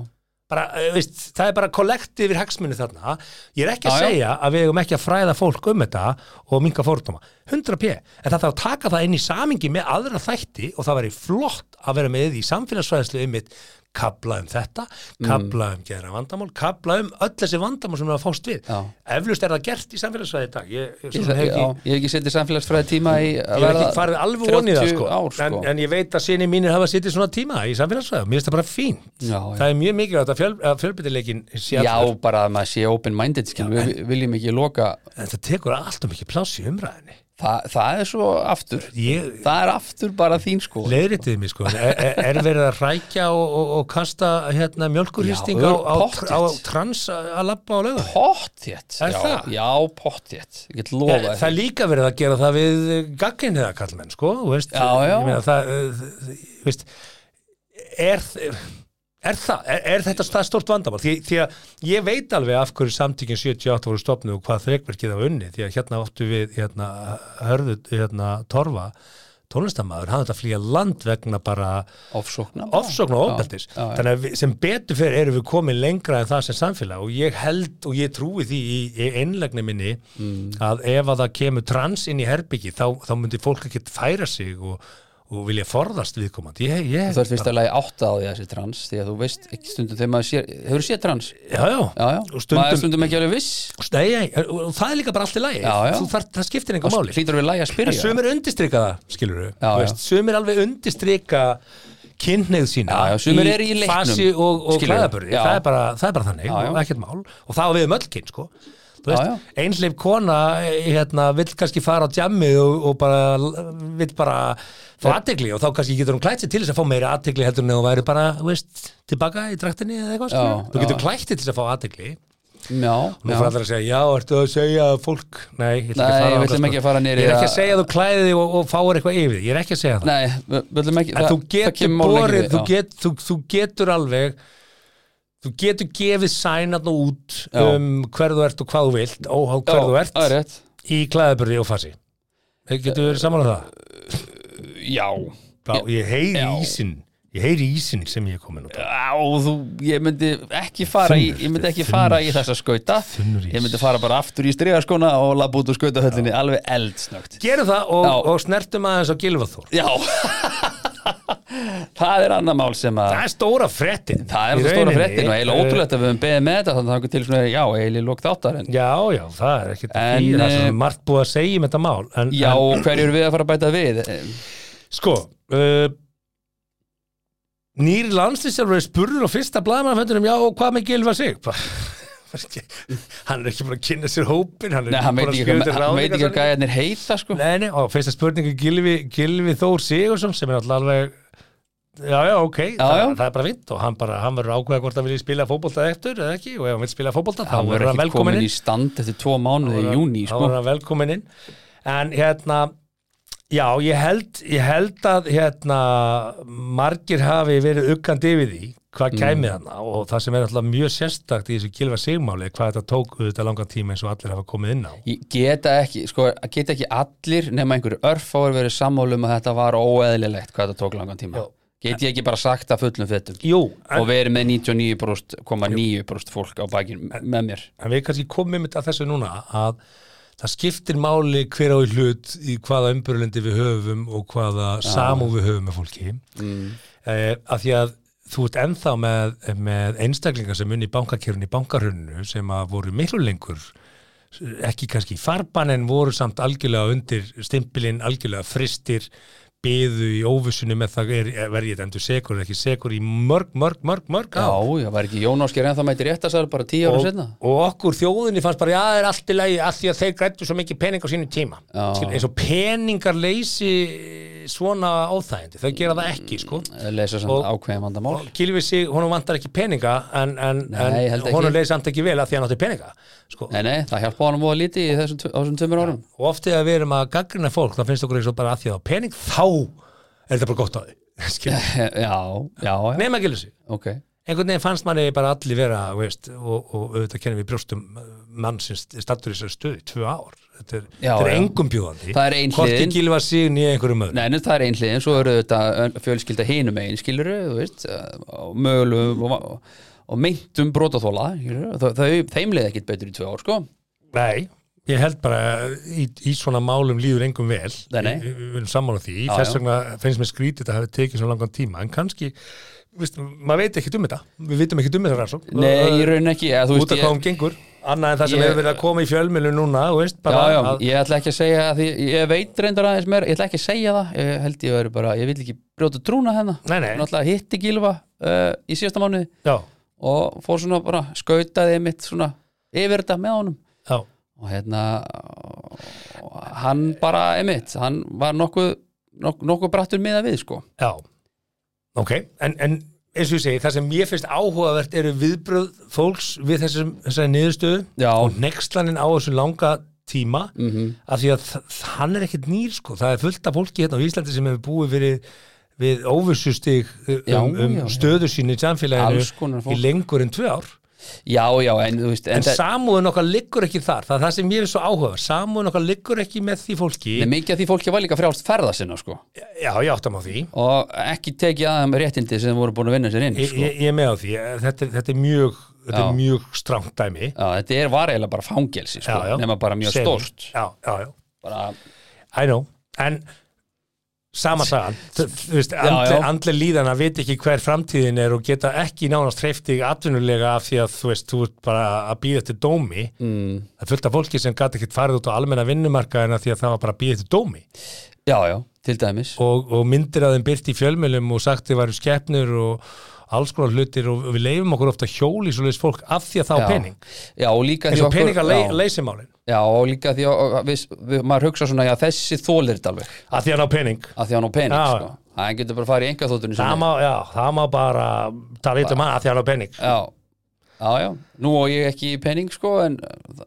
bara, eh, veist, það er bara kollekt yfir hagsmunni þarna ég er ekki að Já, já. segja að við eigum ekki að fræða fólk um þetta og minga fórtuma 100 p, en það þarf að taka það inn í samingi með aðra þætti og það væri flott að vera með í samfélagsfræðslu um mitt kabla um þetta, kabla Mm. um gera vandamál, kabla um öll þessi vandamál sem við að fást við Já. eflust er það gert í samfélagsfræði í dag ég, ég, Ég, ég, það, hef já, ekki, ég hef ekki setið samfélagsfræði tíma í ég hef ekki farið alveg vonið það sko. Ár, sko. En, en ég veit að sinni mínir hafa sittið svona tíma í samfélagsfræði og mér finnst það bara fínt Já, já. það er mjög mikilvægt að, fjöl, að fjölbyrðileikin sé Já, allur. bara að maður sé open-minded skil, við við viljum ekki loka En það tekur allt og mikið pláss í umræðinni. Þa, Það er svo aftur Ég Það er aftur bara þín sko leiðritiði mig sko, er, er- er verið að rækja og, og, og kasta hérna mjölkurhýsting Já, á, á, pottþétt. á trans að labba á lögum? Pottjétt Er já, það? já, pottjétt, ég get Eh, Það lofa er líka verið að gera það við gagginn eða kallmenn sko, þú veist, Já, já. ég meina það, eh, þú veist, er, er það, er, er þetta það stort vandamál? Því, því að ég veit alveg af hverju samtíkin 78 voru stopnuð og hvað þreikverkið var unni, því að hérna áttu við hérna, hörðu, hérna, torfa, tónlistamæður, hann þetta flýja land vegna bara Offsókna ofsókn og Já, ofbeldis já, já. þannig að við, sem betur fyrir erum við komin lengra en það sem samfélag og ég held og ég trúi því í, í einlegni minni Mm. að ef að það kemur trans inn í herbyggi þá, þá myndi fólk ekki færa sig og, og vilja forðast viðkomandi ég, ég, Þú ert fyrst að lagi átta á því að þessi trans því að þú veist ekki stundum þegar maður sér Hefur þú séð trans? já, já, Já, já, og stundum, maður er stundum ekki alveg viss Nei, nei, og og það er líka bara allt í lagi Já, já. Þú Þar, það skiptir og enga máli hlýtur við lagi að en spyrja sumir undistrika það, skilur við Já, já. sumir alveg undistrika kynneið sína Já, já, sumir eru í leiknum, fasi og, skilurðu. og klæðaburði Já. það er, bara, það er bara þannig, Já, já. og ekkert mál og það á við um öll kyn, sko Þú Já, veist, einhleif kona eh, hérna, vill kannski fara á djammið og, og bara, vill bara fá aðtegli og þá kannski getur hún klætt sér til þess að fá meiri aðtegli heldur en þú væri bara þú veist, tilbaka í draktinni eða eitthvað Já, skilurðu. þú já. getur klætt þig til þess að fá aðtegli Já, Nú já. fyrir allir að segja, já, ertu að segja að fólk Nei, ég ætla ekki að Nei, við fara þangað, ætlum sko. ekki að fara niður í Ég er ekki að það. segja að þú klæði þig og, og fáir eitthvað yfir þig. Ég er ekki að segja það Nei, við við ætlum ekki En það- þú það getur kemur málinu borið, ekki við, þú, já. get, þú, þú getur alveg Þú getur gefið sænarn út Já. um hver þú ert og hvað þú vilt óhá hver Já, þú ert það er rétt. í klæðaburði og fasi Getur þú verið saman á það? Já, Já, ég heyri Já. ísinn Ég heyri ísinn sem ég er komin út á. á, þú, ég myndi ekki fara í, Þunnur, ég myndi þetta er ekki þunnur. fara í þessa skauta Þunnur ís. ég myndi fara bara aftur í strigaskona og labba út úr skautahöllinni alveg eldsnögt Gerum það og, Já. og snertum aðeins á Gylfaþór Já Það er annað mál sem að Það er stóra frettin Það er það stóra fréttin og eh, eiginlega ótrúlegt að við höfum beðið með þetta þannig að það er til svona, já, eiginlega lók þáttar en Já, já, það er ekkert En, en, í það eh, sem margt búið að segja um þetta mál en, já, hverju eru við að fara að bæta við? en sko uh, Nýri landslýsjálfur er spurður á fyrsta blaðmannföndunum já og hvað með Gylfa sig hann er ekki búin að kynna sér hópin hann er Nei, hann veit búin ekki, hvað- hann veit ekki ráðningarsamning. að gæðarnir heita sko Nei, nei, og fyrsta spurningu Gylfi, Gylfi Þór Sigursson sem er alltaf alveg Já, já, ok, það, já. það er bara vint og hann, bara, hann verður ákveða hvort hann vilja spila fótbolta eftir eða ekki og ef hann vil spila fótbolta þá Hann verður verður hann ekki velkominn komin inn. í stand eftir tvo mánuði í júni Þá sko var hann velkomin inn En hérna Já, ég held, ég held að hérna, margir hafi verið uggandi yfir því Mm. hvað kæmið hana og það sem er alltaf mjög sérstakt í þessu gilfa sigmáli er hvað þetta tók auðvitað langan tíma eins og allir hafa komið inn á Ég Geta ekki, sko, um geta ekki allir nema einhverju örfáir verið sammálum að þetta var óeðlilegt hvað þetta tók langan tíma Já. Get ég ekki bara sagt að fullum fettum Jú, og en, verið með 99,9% fólk á bakinn með mér en við kannski komum með þessu núna að það skiptir máli hver á í hlut í hvaða umbyrlendi við höfum og hvaða samú við höfum með fólki mm. af því að þú ert ennþá með, með einstaklingar sem unni í bankakjörun í bankarhunnu sem að voru miklu lengur ekki kannski í farban en voru samt algjörlega undir stimpilinn, algjörlega fristir byðu í óvissunni með það er, verði ég dæmdur sekur eða ekki sekur í mörg, mörg, mörg, mörg Já, ár já, var ekki Jón Ásker en það mæti rétt að bara 10 ára og, setna og okkur þjóðinni fannst bara, já, það er allt í lagi af því að þeir grættu svo mikið pening á sínu tíma Já. Skil, eins og peningar leysi svona óþægindi, þau gera það ekki sko. lesa sem Og- ákveðum vandamál og Gylfi sig, honum vantar ekki peninga en, en, Nei, ég held en ekki. honum leysi samt ekki vel af því að hann átti peninga sko. Nei, nei, það hjálpa honum voða lítið í þessum, tve- á þessum tömur árum og oft þegar við erum að gaggrina fólk þá finnst okkur eins og bara að því að það á pening þá er þetta bara gott á því Já, já, já, nema gilur sig ok einhvern veginn fannst manni bara allir vera þú veist, og, og auðvitað kennum við brjóstum mann sem stattur í þessari stöðu tvö ár þetta er, Já, þetta er já. engum bjóðandi Það er ein hvorki hliðin. gilva sig nýja einhverjum öðrum Nei, en það er einhliðin, svo eru þetta ön- fjölskylda hinum einn, skilur þú veist, eh, og mögulegum og, og meintum brotaþóla, þeim leið ekkit betur í tvö ár, sko. Nei, ég held bara í, í svona málum líður engum vel Nei, nei. Við- við erum sammála því, Já, þess já. vegna finnst mér skrítið að hafa tekið svona langan tíma en kannski, viðst, maður veit ekki um þetta við vitum ekki um þetta rannsók Nei, ég raun ekki, eða, þú út veist, af hvað hún gengur annað en það sem Ég- hefur verið að koma í fjölmilu núna þú veist, bara já, já, að, ég ætla ekki að segja því, ég veit reyndar aðeins mér, ég ætla ekki að segja það ég held ég verið bara, ég vil ekki brjóta trúna hennar Nei, nei. náttúrulega hitti Gilva uh, í síðasta mánuði já, og fór svona bara, skautaði mitt svona yfir þetta með honum já, og hérna og hann bara, emitt, hann var nokkuð nok, nokkuð brattur miða við, sko já ok, en, en eins og ég segi það sem ég finnst áhugavert eru viðbröð fólks við þessum, þessari niðurstöðu Já, og nexlanin á þessum langa tíma mm -hmm. af því að þ- hann er ekkert nýr sko, það er fullt af fólki hérna á Íslandi sem hefur búið fyrir við óvissustig Já, um, um já, já. stöðu sín í samfélaginu Alls konar í fólk. lengur en tvö ár já, já, en þú veist en, en það- samúðun okkar liggur ekki þar það er það sem ég er svo áhuga samúðun okkar liggur ekki með því fólki Nei, mikið af því fólki var líka frjálst ferða sinna, sko já, ég áttam á því og ekki tekið aðeim réttindi sem voru búin að vinna sér inn, ég, sko ég, ég er með á því, þetta, er- þetta er mjög þetta Já. er mjög strangt dæmi Já, þetta er vareilega bara fangelsi sko, Já, já. nema bara mjög Sem- stórt já, já, já bara, I know, en sama sagan, þú þú veist Já, andle, já. andle líðana veit ekki hver framtíðin er og geta ekki nánast hreiftig atvinnulega af því að þú veist, þú ert bara að býða eftir dómi mm. það er fullt af fólki sem gat ekkit farið út á almenna vinnumarka en að því að það var bara að býða eftir dómi já, já, til dæmis og, og myndir að þeim byrt í fjölmjölum og sagt þið varum skepnur og alls konar hlutir og við leifum okkur ofta hjóli svo leist fólk af því að það á já. pening já, og líka eins því og peningar já, le leysimálin já, og líka því að við, við, maður hugsa svona, já, þessi þólir þetta alveg af því að ná pening að því hann á pening, Já, sko hann getur bara að fara í enga þóttunni það má, já, það má bara tala eitthvað um hann af því að ná pening já, já, já, nú og ég ekki í pening, sko en,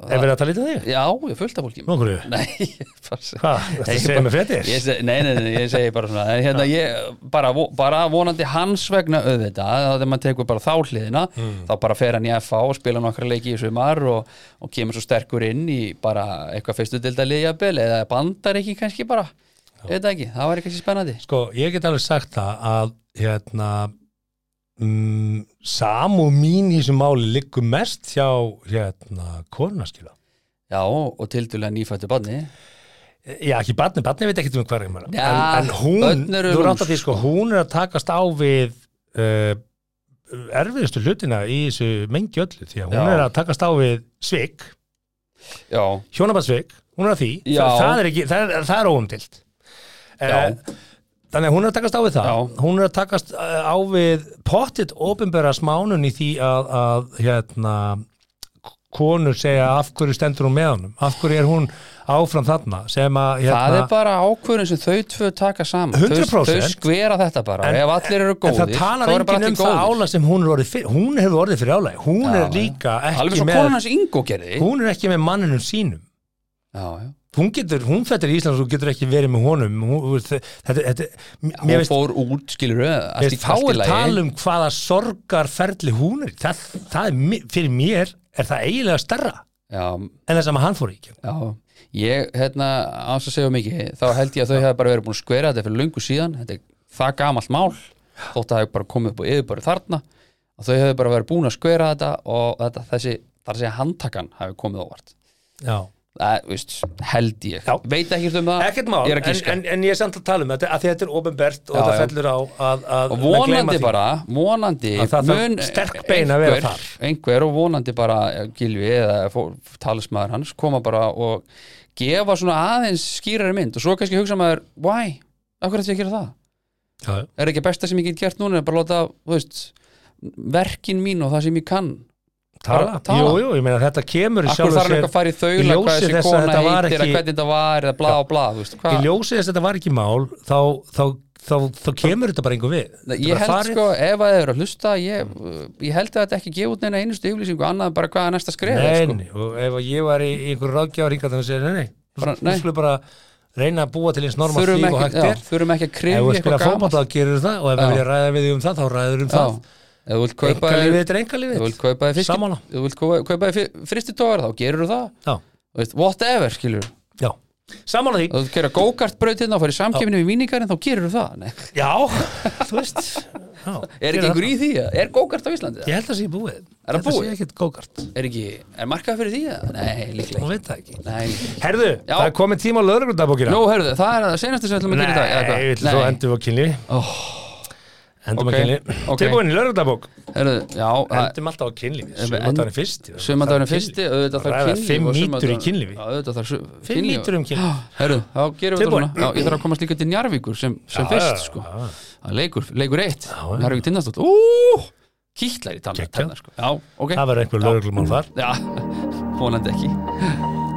Er verið að tala lítið um þig? já, ég er fullt af fólki Nú, hverju? Nei, ég bara seg- Hvað? Ertu að Ég segja bara- mér fréttir? Ég seg- Nei, nei, nei, ég segi bara svona en hérna, ég, bara, vo- bara vonandi hans vegna auðvitað, þegar maður tekur bara þá hliðina, Hmm. þá bara fer hann í FH og spila nokkra leiki í sumar og, og kemur svo sterkur inn í bara eitthvað fyrstu delta liðjabil eða bandar ekki kannski bara, ég veit það ekki það var kannski spennandi Sko, ég get alveg sagt það að hérna mm, samú mín í þessu máli liggur mest hjá hérna korunaskila. Já, og tildulega nýfættu badni Já, ekki barni, barni veit ekkert um hvað reyma. Já, en, en hún, börn eru þú rátt lúmsk, að því sko, hún er að takast á við uh, erfiðustu hlutina í þessu mengi öllu því að hún Já. er að takast á við svik, Já, hjónabatsvik, hún er að því, Já. það, það er ekki, það er, það er óumdilt. já, Þannig að hún er að takast á við það Já. Hún er að takast uh, á við pottit opinbera smánun í því að, að hérna k- konur segja af hverju stendur hún með honum af hverju er hún áfram þarna sem að það er hérna bara ákvörðin sem þau tvö taka saman Þau, 100%. þau skvera þetta bara, En- ef allir eru En góðir það talar þá eru bara enginn um allir það góðir. ála sem hún er orðið fyrir, hún hefur orðið fyrir álæg, hún Já, er líka já. alveg ekki svo með, konan hans Ingo gerði hún er ekki með manninum sínum, já, já. hún getur, hún fættir í Íslands og getur ekki verið með honum, hún, þú veist, þetta, þetta, hún mér veist, fór út, skilur Mér finnst fáir tala við um hvaða sorgarferli hún er í. það, það er, mi- fyrir mér er það eiginlega starra já, en það sem að hann fór í gegn. já ég, hérna, ás að segja mikið þá held ég að þau hefði bara verið búin að skvera þetta fyrir löngu síðan þetta er það gamalt mál þótt að það hefur bara komið upp á yfirbörð þarna að þau hefur bara verið búin að skvera þetta og þetta, þessi, þar að segja handtakan hefur komið óvart já það, veist, held ég Já. veit ekki um það, Ekkert mál, ég er að en, gíska en, en ég er samt að tala um þetta að því þetta er ofinbert og Já, þetta já. fellur á að, að og menn gleyma vonandi því. bara vonandi Að það þarf sterk bein að vera einhver, einhver og vonandi bara eh, Gylfi eða fó- talismaður hans koma bara og gefa svona aðeins skýrari mynd og svo kannski hugsa maður why, af hverju ætti ég að gera það Já, já. er ekki besta sem ég get gert núna er bara láta, þú veist verkin mín og það sem ég kann tala, Bara tala. Jú, jú, ég meina þetta kemur í akkur sjálfu þarf hann sér eitthvað að fara í í þaula ljósi hvað þessi þess að kona þetta var heitir eða ekki- hvernig þetta var eða bla og bla, þú veist Ég hvað ljósið þess að þetta var ekki mál þá, þá, þá, þá, kemur þetta bara einhver við Þetta Ég bara held farið. sko, ef að þið eru að hlusta ég, ég held að þetta ekki gefa út neina einustu yflýsingu annað en bara hvað er næsta skref Nei, sko. nei, og ef ég var í í einhverju ráðgjafar hingað þannig að segja, nei, Bara, nei, nei. við skulum bara reyna að búa til eins norma þurfum þvík og ekki, hægt já, er þurfum ekki að Ef krifja við spila eitthvað fótboll þá gerir það og ef Já. við vilja ræða við þig um það, þá ræður um Já. það Ef þú vilt kaupa Einkalífið þér- þetta er einkalífið ef þú vilt kaupa þér fiski- Sammála. ef þú vilt kaupa- kaupa þér fristitógar þá gerur það Já, Þú veist, whatever, skilur já, sammála því Ef þú gera go-kart-braut hérna og farið samkefni við míningarinn þá gerur það Nei. Já, þú veist já, er ekki einhver í því, eða? er go-kart á Íslandi Ég held að það sé búið það Þetta búið? sé ekkert gókart, er ekki, er markað fyrir því eða? nei, líklega ekki. hún veit það ekki nei, líklega ekki. Herðu, Já. það er komið tíma á lögreglundabókina nú, herðu, það er það senasta sem við ætlum að gera í dag eða Nei, hvað? ég vil svo endum við á kynli Oh. Endum Ok, á kynli ok. Tilbúin í lögreglundabók Herðu, já, það- Endum alltaf á kynlífi En- Sumandagurinn fyrst Sumandagurinn fyrsti, auðvitað þarf Ræða kynlíf fimm og mýtur í sumardagurinn- kynlífi. Já, auðvitað þarf su- Fimm kynlíf. mýtur um kynlíf. Já, Herru, þá gerum við þetta Tilbúin. svona Já, ég þarf að komast líka til Njarvíkur sem, sem Já, fyrst, já, sko já. Það er Leikur, leikur eitt, já. Njarvík tindastótt Úúúú, kýtlar í Geggjað. tannar sko. Já, ok Það verður einhver lögreglumál þar Já, vonandi ekki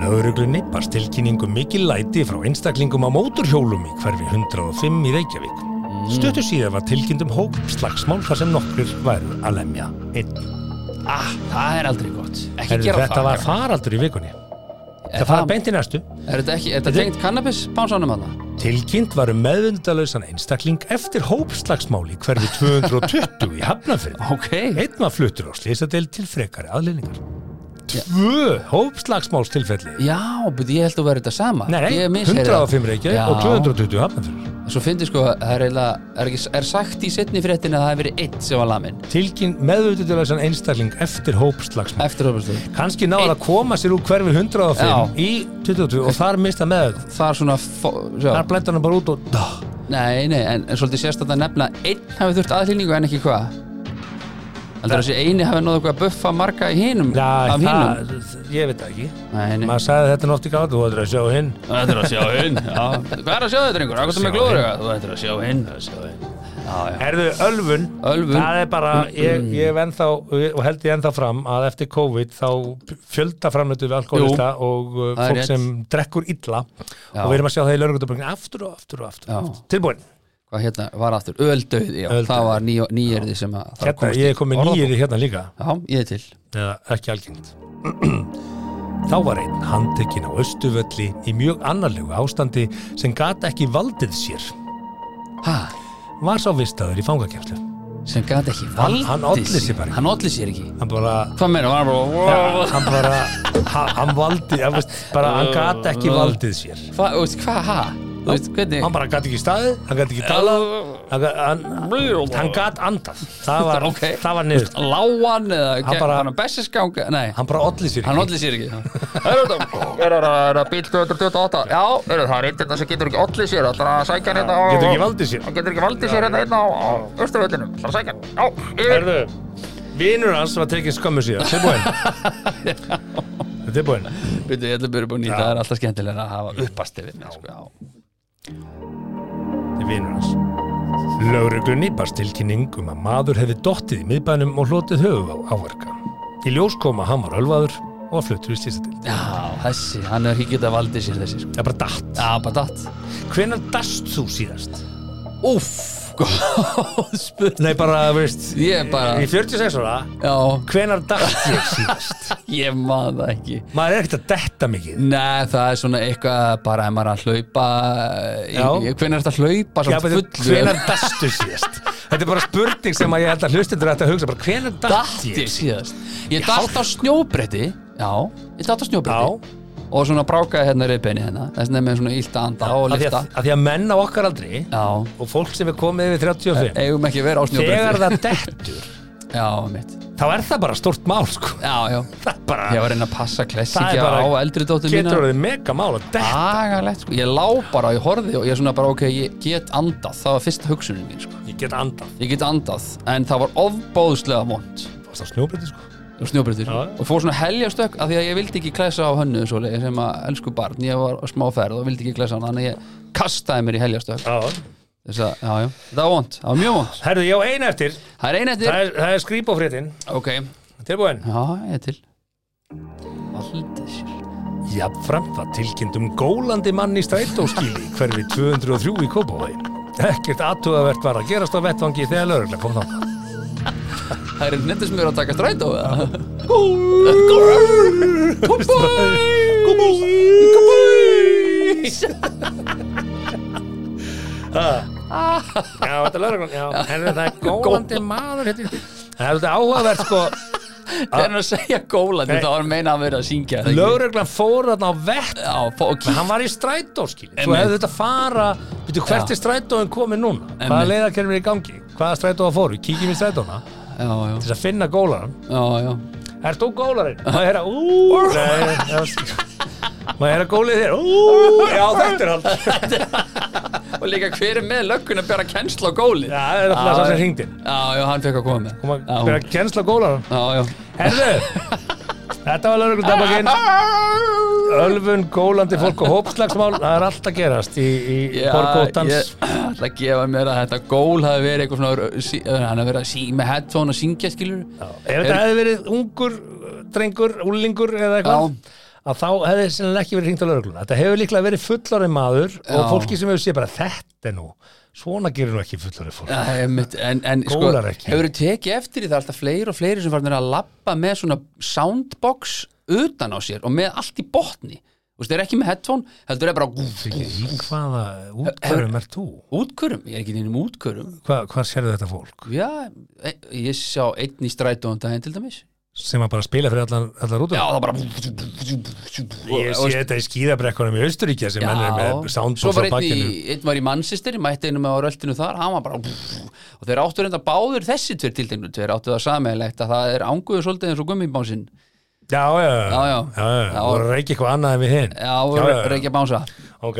Lögreglunni barst tilkynningu um mikil læti frá einstaklingum á móturhjólum í hverfi 105 í Reykjavík. Mm. Stöttu síðar var tilkynnt um hóp slagsmál þar sem nokkur væru að lemja einn. ah, Það er aldrei gott Ekki Herðu, gera þetta það var krakkar. faraldur í vikunni. Er Það fara beint í næstu. Er þetta ekki, er þetta tengt kannabis bánsanum hana? Tilkynnt var um meðvendalausan einstakling eftir hóp slagsmál í hverfi 220 í Hafnafjörð. Ok, Einn var fluttur á slisadel til frekari aðlendingar. Tvö hóp slagsmálstilfelli. já, beti ég held að vera þetta sama Nei, Ég misheyrði það. 105 Reykjavík og Já. 220 Hafnafjörð. Svo fyndi sko, það er eiginlega, er, ekki, er sagt í setni fréttin að það hefur verið eitt sem var lamin Tilkynnt meðvendalausan einstakling eftir hóp slagsmál. Eftir höfumstu kannski náða að koma sér úr hverfi 105 Já. í 22 og þar mista með Það er svona, fó- sjá, þar blendur hann bara út og Dah. nei, nei, en, en svolítið sérstætt að nefna að Einn hafi þurft aðlýningu en ekki hvað Heldur þessi eini hafi náðu eitthvað að buffa marga í hinum Já, Af hinum það, ég veit það ekki Nei, nei, maður sagði þetta nátt í gátt og þú ættir að sjá hinn þetta er að sjá hinn já. Hvað er að sjá þetta einhver? Akkur sem er Sjá glóður hinn. eitthvað? Þetta er að sjá hinn Já, já, Erðu ölfun, Ölvun. Mm, það er bara ég, ég hef ennþá, og held ég ennþá fram að eftir COVID þá fjölda framlötu við alkoholista og uh, það er fólk rétt. sem drekkur illa Já. og við erum að sjá það í lörgutaböngin aftur og aftur og aftur Já. tilbúin, hvað hérna var aftur? Öldauði, já, Öldauð. það var nýj- nýyrði sem að það hérna, ég er komið nýjir hérna líka Já, ég er til eða ekki algengt. Þá var einn handtekinn á Östuvölli í mjög annarlegu ástandi sem gata ekki valdið sér. Hæ? Var sá vistaður í fangakeflu. sem gæti ekki Hann- valdið hann olli sér bara ekki. hann olli sér ekki Hann bara, hvað meina, var hann bara hann bara, ha- hann valdi, hann, veist, bara, hann gata ekki valdið sér. hvað, þú veist, hvað, hæ þú veist, hvernig Hann bara gata ekki staðið, hann gata ekki talað, hann, gat- hann, hann gata andað. Það var, Ok. það var niður. lágan eða Hann hann bara- bara hann bessiskanga nei Hann bara ollið sér. hann ekki. olli sér ekki er þetta er þetta bíl 228 já er þetta það er eitthvað sem getur ekki olli sér ætlar að sækja hann hérna á- Getur ekki valdið sér. hann getur ekki valdið sér hérna hérna á á Austurvöllinum ætlar að sækja hann já yfir. Herðu, vinur hans var tekinn skömmu síðan. Tilbúin. Tilbúin. Bíddu, ég ætla að byrja upp á nýtt það er alltaf skemmtilega að hafa uppast yfir mig, sko, já. til vinur hans. Lögreglunni barst tilkynning um að maður hefði dottið í miðbænum og hlotið höfuð á áverka. Í ljós kom að hann var ölvaður og að fluttur í slýsatild. já þessi hann er ekki getað valdið sér þessi sko. Það er bara datt. já bara datt Hvenær dast þú síðast? Úff, góð spurning Nei, bara, veist, Ég bara- í 46 ára, Já, hvenær dast ég síðast? ég man það ekki maður er ekkert að detta mikið. Nei, það er svona eitthvað bara ef maður er að hlaupa Já. Hvernig er þetta að hlaupa Já, svona betur, fullu hvenær dastu síðast? Þetta er bara spurning sem að ég held að hlustendur ætti að hugsa bara, hvenær dast datt ég ég síðast? síðast Ég datt á snjóbretti Já, ég datt á snjóbretti Já, og svona brákaði hérna reyðbeini hérna þess vegna er með svona ílt að anda og Af því að, lifta að því að menn á okkar aldri Já, og fólk sem er komið yfir 35 eigum ekki að vera á þegar snjóbreytti það dettur Já, mitt þá er það bara stórt mál sko. Já, já það er bara Ég var að reyna að passa Það er klessikja á bara- eldri dóttir mína getur orðið mega mál að detta Agalegt, sko Ég lá bara, ég horfði og ég svona bara, ok, ég get andað Það var fyrsta hugsunin mín, sko ég get andan Ég get andað, en það var ofbóðslega vond það er snjóbreytti sko og snjóbreytur Já. og fór svona heljastökk af því að ég vildi ekki klæsa á hönnu svo leið, sem að elsku barn, ég var á smá ferð og vildi ekki klæsa á hann, þannig að ég kastaði mér í heljastökk Já. þess að, já, já, það var vond, það var mjög vond herðu ég á eina eftir það er eina það eftir, er, það er skrýpofréttin ok tilbúin já, ég er til Valdið sér Jafnframt var tilkynnt um gólandi mann í strætóskíli hverfi 203 í Kópavói. Ekkert aðtugavert var að gerast á vettvangi þegar lögregla kom þá. það er nettur sem eru að taka strætó eða? Kópavói! Já, þetta er lögreglan. Já, en það er gólandi maður. hérna. Það er þetta áhugavert sko. það er að segja gólandi, Nei. það var meina að vera að syngja er það ekki? Lögreglan fór þarna á vett. já, fó, og kýr Hann var í strætóskíli. Svo Einmitt. hefði þetta fara, veitu hvert Já. er strætóin komið núna? Einmitt. Hvaða leiðarkerfin er í gangi? Hvaða strætóa fóru? Kíkjum í strætóna já, já, til að finna gólaran. já, já Er þú gólarinn? Má ég heyra, úúúú Má ég heyra gólið þér, úúúú Já, þetta er hann Já, og líka hver er með löggun að bera kennsla á góli já, það er alltaf það sem hringdi já, hann fekk að koma með Kom að Já. byrja að kjensla gólaran Já, já. Herðu, þetta var lögur dabakinn Ölfun, gólandi fólk og hópslagsmál Það er allt að gerast í, í Já, borgóttans ég ætla að gefa mér að þetta gól hafi verið eitthvað svona, sí- hann hafi verið að sí, með headphone að syngja skilur Ef þetta hefði verið ungur, drengur, úlingur eða eitthvað að þá hefði sennilega ekki verið hringt á laurugluna. Þetta hefur líklega verið fullari maður og Já. fólki sem hefur séð bara þetta er nú, svona gerir nú ekki fullari fólk. Einmitt, en, en sko, Gólar ekki. hefur tekið eftir í það alltaf fleiri og fleiri sem farnir að lappa með svona soundbox utan á sér og með allt í botni þú veist, þeir eru ekki með headphone, heldur er bara Í hvaða útkvörum er þú? útkörum, ég er ekki nýjum útkörum Hva, hvað sérðu þetta fólk? já, e- ég sá einn í strætóðan daginn til dæmis Sem að bara spila fyrir allar, allar út já, það bara Ég sé þetta í skíðabrekkunum í Austuríkja sem menn er með svo soundbox var einn, á í, bakkinu. einn var í Manchester, ég mætti einum á röltinu þar, hann var bara og þeir áttu reynda báður þessi tveir tiltegnu tveir áttu það sameiglegt að það er ánguðu svolítið eins og gummibánsinn Já, já, Já, já. já, já. Já. voru að reykja eitthvað annað en við hinn. já, og reykja bánsa, Ok.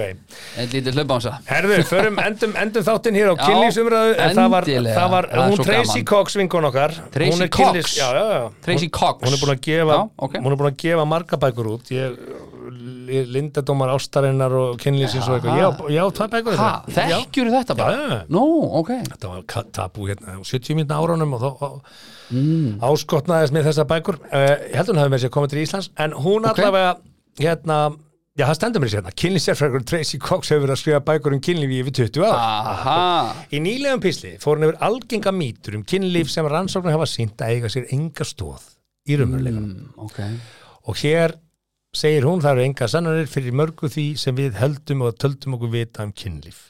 einn lítið hlaupbánsa Herðu, förum, endum, endum þáttinn hér á Já, kynlífsumræðu en það var, endilega. það var Það er hún svo Tracy gaman. Cox vinkon okkar Tracy Hún er Cox? kynlífs- já, já, já. Tracy Cox. Hún, hún er búin að gefa, Já, ok. hún er búin að gefa marga bækur út ég, Li- lindadómar ástarinnar og kynlífsins og eitthvað Já, já, það bækur ha, þetta þekkjur þetta bara? Já, já, já. nú, ok Þetta var ka- tabú hérna á 70 minna árunum og þá mm. áskotnaðist með þessa bækur uh, Ég held hún hafi með sér komið til Íslands en hún Ok. allavega hérna Já, það stendur mér sér hérna. Kynlífsérfrækur Tracy Cox hefur verið að skrifa bækur um kynlífi í yfir 20 ára. Ah. aha, Í nýlegum písli fór hann yfir algenga mýtur um kynlíf sem rannsóknir hafa sínt að eiga sér enga stóð í raunveruleikanum. mm, ok Og hér segir hún það eru enga sannanir fyrir mörgu því sem við höldum og töldum okkur vita um kynlíf.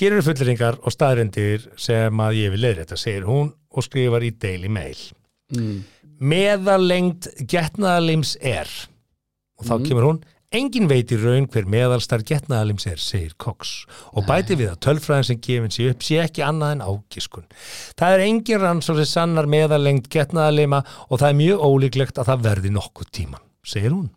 Hér eru fulleringar og staðrendir sem að ég vil leður þetta, segir hún og skrifar í Daily Mail. mm, Meðalengd getnaðalims er, og þá kemur hún, engin veit í raun hver meðalstar getnaðalims er, segir Cox, og bæti við að tölfræðin sem gefin sér upp sé ekki annað en ágiskun. Það er engin rannsóð sem sannar meðalengd getnaðalima og það er mjög ólíklegt að það verði nokkuð tíman, segir hún.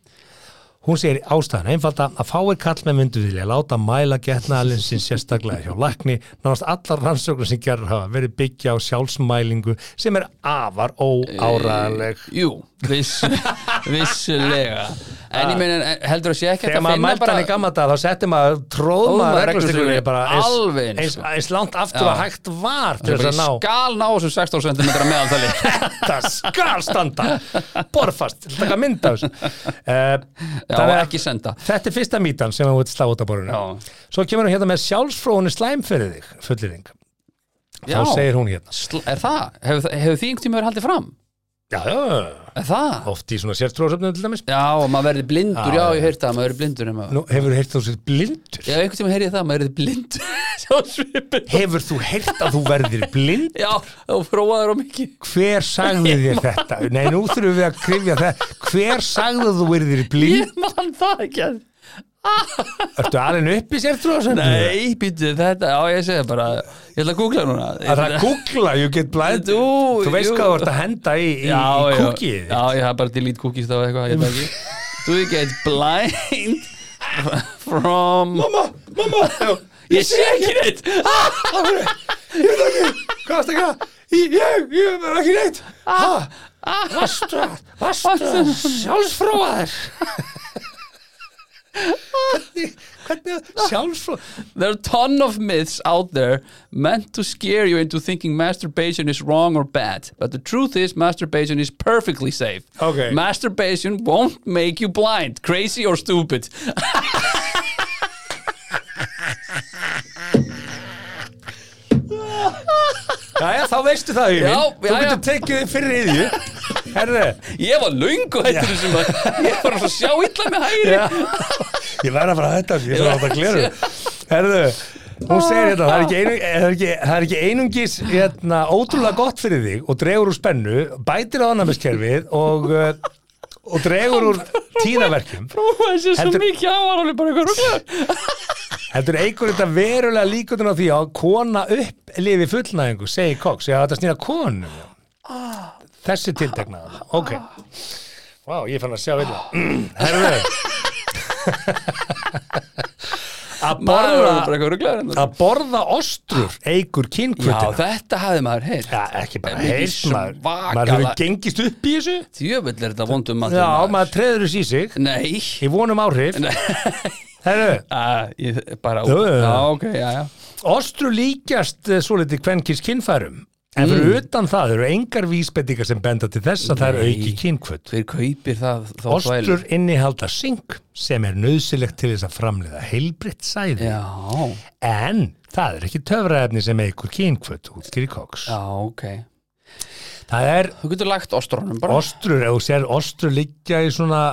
Hún segir ástæðan einfalda að fáir kallmenn myndu vilja láta mæla getnaðalinn sinn sérstaklega hjá lækni, nánast allar rannsóknir sem gerur hafa verið byggja á sjálfsmælingu sem er afar óáraðanleg. jú, viss, vissulega en ég meina, en heldur að sé ekki hægt Ah. Þegar að maður finna mældi hann í gamla dag þá setti maður tróðma Tróðmaður reglustikunni reglustikunni, bara eins, alveg eins. eins, eins langt aftur Já. að hægt var til Ég þess að bara, ég ná. skal ná þessum 16 cm meðaltali Þetta skal standa, borfast, taka mynd af þessu. Uh, Já, og ekki senda Þetta er fyrsta mítan sem hann veit slá út af borðinu. Já. Svo kemur hún hérna með sjálfsfróðunni slæm fyrir þig, fulliring. Þá Já. segir hún hérna. Sl- Er það? Hefur, hefur því einhvern tíma verið haldið fram? já, já, já. Er það? oft í svona sértrúasöfnum til dæmis Já, og maður verði blindur, já, ég heyrði það, maður verði blindur um Nú, hefur þú heyrt þú sér blindur? Já, einhvern tíma heyrði ég það, maður verði blindur Sjá svipin Hefur þú heyrt að þú verðir blind? Já, þú prófaður á mikið Hver sagði þér þetta? Nei, nú þurfum við að krifja það Hver sagði að þú verðir blind? Ég man það ekki að Ertu alveg upp í sértrúasöfnum? Nei, býtu þetta, já ég segi bara Ég ætla að googla núna Að það googla, you get blind Jú, Þú veist jú. hvað þú ert að henda í, í, já, í já. kúkið Já, ég hafði bara delete cookies þá eitthvað, ég veit það ekki Do you get blind from Mamma, mamma Ég sé ekki neitt Hvað varst ekki? Ég, ég er ekki neitt Ah. Vastu, vastu Sjálfsfróaður Ah. Hvernig, hvernig Sjálfsfróaður There are a ton of myths out there meant to scare you into thinking masturbation is wrong or bad. But the truth is, masturbation is perfectly safe. Okay. Masturbation won't make you blind, crazy or stupid. Jæja, þá veistu það, Júmin Ah. Já, Þú jæja. getur tekið þig fyrir yðju Herre, Ég var löngu hættur þessum að ég var að sjá illa með hægri. ég verð að fara að hætta þessu, Ég þarf að þetta gleru Herðu, hún segir hérna Það er ekki, einu, það er ekki, það er ekki einungis hérna, ótrúlega gott fyrir þig og dregur úr spennu, bætir á annafiskerfið og, uh, og dregur úr tíðaverkjum Prófaði sér svo Heldur- mikið á var alveg bara eitthvað rúglega. Heldur eigur þetta verulega líkundin á því að kona upplifi fullnæðingu, segir Cox. Já, þetta snýra konum. já. Þessi tilteknaða. Ok. Vá, ég fann að sjá vilja. Herðu. Bara Að bara borða, eitthvað rúglega. að borða ostrur eigur Já, kynkvöldina. þetta hafði maður heyrt. Já, ekki bara Mikið heils maður. svakalega- Maður hefur gengist upp í þessu. Tjöfull er þetta vondum matur. Já, maður treður þessu í sig. Nei. Ég vonum áhrif. Herðu. Ah, ég, bara, Jú, jú, jú. já, ok, já, já. Ostru líkjast eh, svolítið kvenkins kynfærum en fyrir utan það eru engar vísbendingar sem benda til þess að það er auki kynkvöld. Hver kaupir það þá Ostrur innihalda sink sem er nöðsilegt til þess að framleiða heilbritt sæði Já, en það er ekki töfraefni sem eigur kynkvöld útskýri koks. já, ok Það er Þú getur lagt ostrunum bara ostrur, ef þú sér ostrur líkja í svona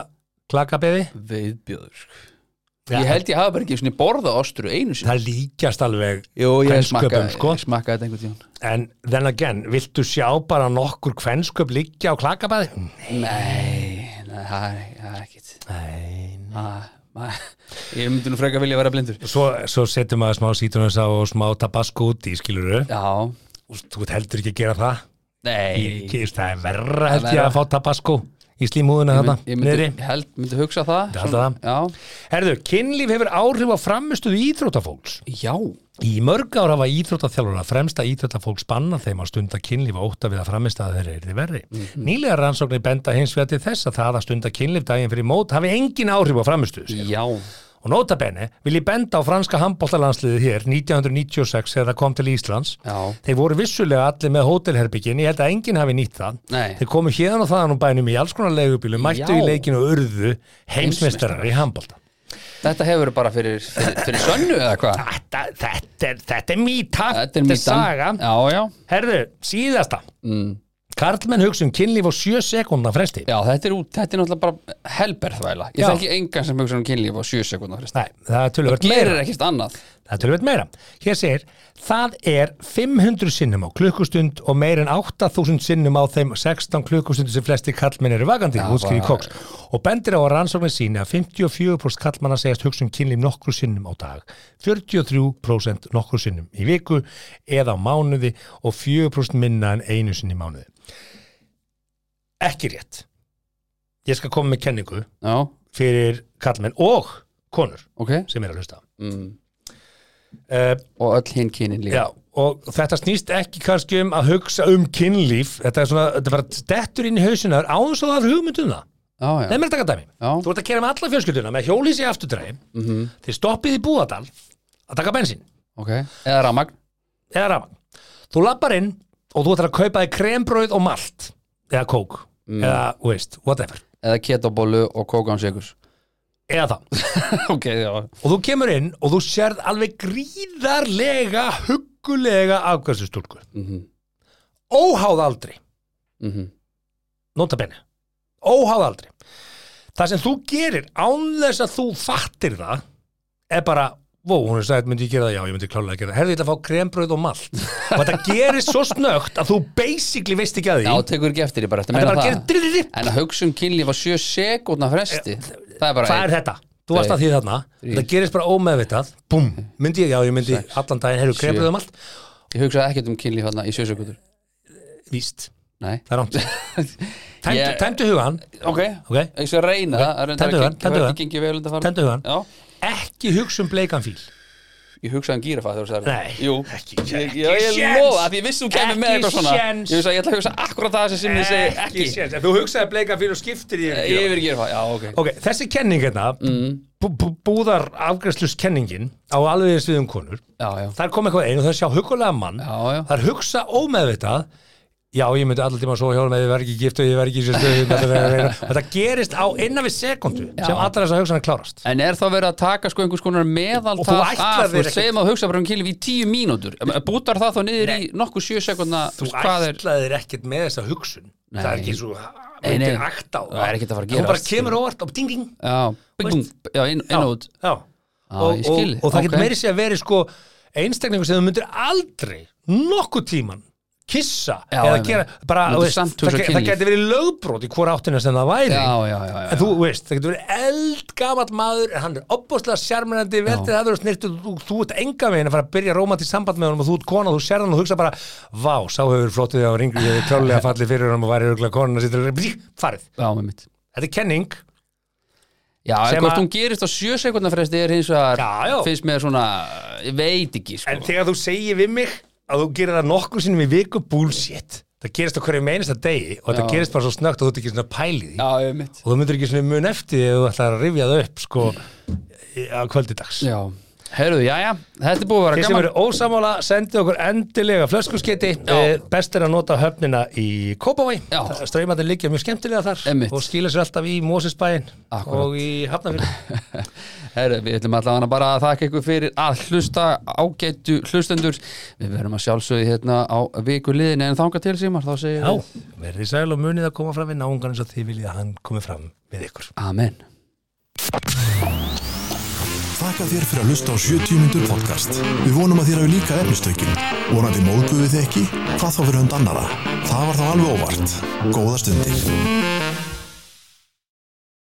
klakabeði, Viðbjöður Já. Ég held ég hafa bara ekki svona borða ostru einu sinni það líkjast alveg Jú, ég kvennsköpum, smakkaði sko. ég smakkaði þetta einhvern tíðan en then again, viltu sjá bara nokkur kvensköp líkja á klakabeði? Nei, nei, það er það er ekkit Nei, Ah, ma- Ég myndi nú frekar vilja vera blindur svo, svo setjum maður smá sítrunnsa og smá tabasco út í skiluru Já, þú ert heldur ekki að gera það nei Ég- ég- það er verra held Það er ég að verra. fá tabasco í slímúðuna þarna, Ég myndi, niðri ég held, myndi hugsa það Ég held svona- Herðu, kynlíf hefur áhrif á framistuð íþróttafólks Já, já Í mörg ár hafa íþróttaþjálfara fremsta íþróttafólks banna þeim að stunda kynlíf og ótta við að framist að þeirra er þið verri. Mhm. Nýlega rannsóknir benda hins vegar til þess að það að stunda kynlíf daginn fyrir mót hafi engin áhrif á framistuð. Já, Og notabene vil ég benda á franska handbóltalandsliðið hér 1996 þegar það kom til Íslands. já, Þeir voru vissulega allir með hótelherbyggin, ég held að enginn hafi nýtt það. Nei. Þeir komu hérðan og þaðan og bænum í alls konar leigubílum, mættu Já. í leikinu og urðu heimsmeistarar í handbólta. þetta hefur bara fyrir, fyrir, fyrir sönnu eða hvað Þetta, þetta, er, þetta er mýta, Þetta er mýtan saga. Já, já, Herðu, síðasta. Mm. Karlmenn hugsa um kynlíf á sjö sekundna fresti. Já, þetta er, út, þetta er náttúrulega bara helberðvæla. Ég Já. þekki engan sem hugsa um kynlíf á 7 sekundar frest. Nei, það er tölvöld meira. Gerir ekkert annað. Það er tölvöld meira. Hér segir, það er 500 sinnum á klukkustund og meir en 8000 sinnum á þeim 16 klukkustund sem flesti kallmenn eru vakandi, Já, útskýri bara- Cox. Og bendir á að rannsóknir síni að 54% kallmanna segjast hugsa um kynlíf nokkru sinnum á dag, 43% nokkru sinnum í viku eða á mánuði og 4% minna en einu sinni í mánuði. Ekki rétt. Ég skal koma með kenningu Já, fyrir kallmenn og konur ok. sem er að hlusta. Mm. Uh, Og öll hinn kynin líka. Já, og þetta snýst ekki kannski um að hugsa um kynlíf þetta er svona, þetta bara dettur inn í hausina áður svo það er hugmyndum um það Já, já. Nei, mér taka dæmi. Já. Þú ert að kera með alla fjölskylduna með hjólísi afturdræði mm -hmm. þið stoppið í Búadal að taka bensín Ok. Eða ramagn. eða rafan. Þú lappar inn og þú ætlar að kaupa þig krembröð og malt eða kók eða, þú veist, whatever Eða ketobólu og kókan sigus. eða það. ok, já. og þú kemur inn og þú sérð alveg gríðarlega huggulega afgjörsustúlku. Mm -hmm. Óháð aldri. Mm -hmm. notabene óháð aldri það sem þú gerir án þess að þú fattir það er bara Vó, hún er sætt, myndi ég gera það, já, ég myndi klálega gera það Herði, ég ætla að fá krembröð og malt Og þetta gerir svo snögt að þú basically veist ekki að því Já, tekur ekki eftir ég bara, þetta Þetta meina bara það gerir drillir En að hugsa um kynlíf á sjö sekúndna fresti Það er bara Eh, Hvað er þetta? Þú varst að því þarna Þetta gerist bara ómeðvitað Búm, myndi ég, já, ég myndi allan daginn Herðu, krembröð og malt Ég hugsaði ekkert um kynlíf hérna í sjö sekúndur Víst, Nei það er rámt Tæmdu, Ég- tæmdu hugan, Ok, ok? ég skal reyna það það Tendu reyndar hann, tendu ekki- hann. ekki gengið vel undanfarin. Tendu hann. Já, Ekki hugsa um bleikan fíl ég hugsaði um gírafa þegar þú sagði Nei, Jú, ekki- Ég, ekki ég, ég séns. lofa að ég vissi þú kemur með Ekki eitthvað svona séns. Ég vissi að ég ætla að hugsa akkurat það sem ég segi ekki séns, ef þú hugsaði bleikan fíl og skiptir í Ég yfir gírafa, já ok Ok, þessi kenning hérna mm. Búðar afgræsluskenningin Á alveg eins við um konur Já, já, Það er komið eitthvað einu, það sjá hugulega mann já, já Það er hugsa ómeðvitað Já, ég myndi allar tíma að sofa hjá hjálum eða ég verð ekki gift og ég verð ekki í sér stöðu þetta- þetta- þetta- þetta- Þetta gerist á innan við sekundu sem allra þess að hugsa hann klárast En er þá verið að taka sko einhvers konar Og þú meðaltal ætlar af, þú þér ekkert- segjum að hugsa bara um kynlíf í tíu mínútur Bútar það þá niður í nokkuð sjö sekundna Þú hvað er ætlaðir ekkert með þessa hugsun Það er ekki svo Nei, nei. myndir akt á Það er ekkert að fara að Hún bara gerast. kemur óvart og ding ding Já, bing, bing, já, inn, inn og út Já, og, ég og, skil. og það Ok. getur meiri sér að veri sko einstakningur sem þú myndir aldrei nokkuð tíman kissa Já, eða einmitt. gera, bara, Myndir þú veist, samt það, hugsa ge- það kynlíf. getur verið lögbrót í hvora áttina sem það væri Já, já, já, já, en þú veist, það getur verið eldgamall maður en hann er opbóðslega sjarmennandi veltið aður og snirtu, þú, þú ert enga veginn að fara að byrja rómant í samband með honum og þú ert kona og þú sér hann og hugsa bara, vá, sá hefur flóttið á ringri, ég hefur klálega fallið fyrir honum og væri örgulega konan að sýttur, farið Já, með mitt þetta er kenning, Já, Sem en hvort að- hún gerist á sjö sekundna fresti er hins vegar, Já, já. finnst mér svona ég veit ekki, sko En þegar þú segir við mig að þú gerir það nokkur sinnum í viku bullshit Það gerist á hverju meinasta degi og þetta Já. gerist bara svo snögt að þú ert ekki svona pælið í því. Já, ég mitt og þú myndir ekki svona mun eftir því ef þú ætlar að rifja það upp sko í- á kvöldidags Já, herruðu, já, já, þetta er búið að vera Þeir sem gaman eru ósamála sendi okkur endilega flöskuskeiti Eh, best er að nota höfnina í Kópavæ Já. ströymandi liggja mjög skemmtilega þar Einmitt. og skýla sér alltaf í Mósisbæin Akkúrat. og í Hafnafjörn Herru, við ætlum allavega bara að þakka ykkur fyrir að hlusta ágættu hlustendur Við verum að sjálfsögðu hérna á viku liðin en þanga til símar, þá segir Já, verðið sæl og munið að koma fram við náungan eins og þið viljið að hann komi fram með ykkur Amen Þakka þér fyrir að hlusta á 70 mínútur podcast. Við vonum að þér hafi líka efnistökin. Vonandi móðguðu þið ekki? Hvað þá fyrir hund annara? Það var þá alveg óvart. Góða stundir.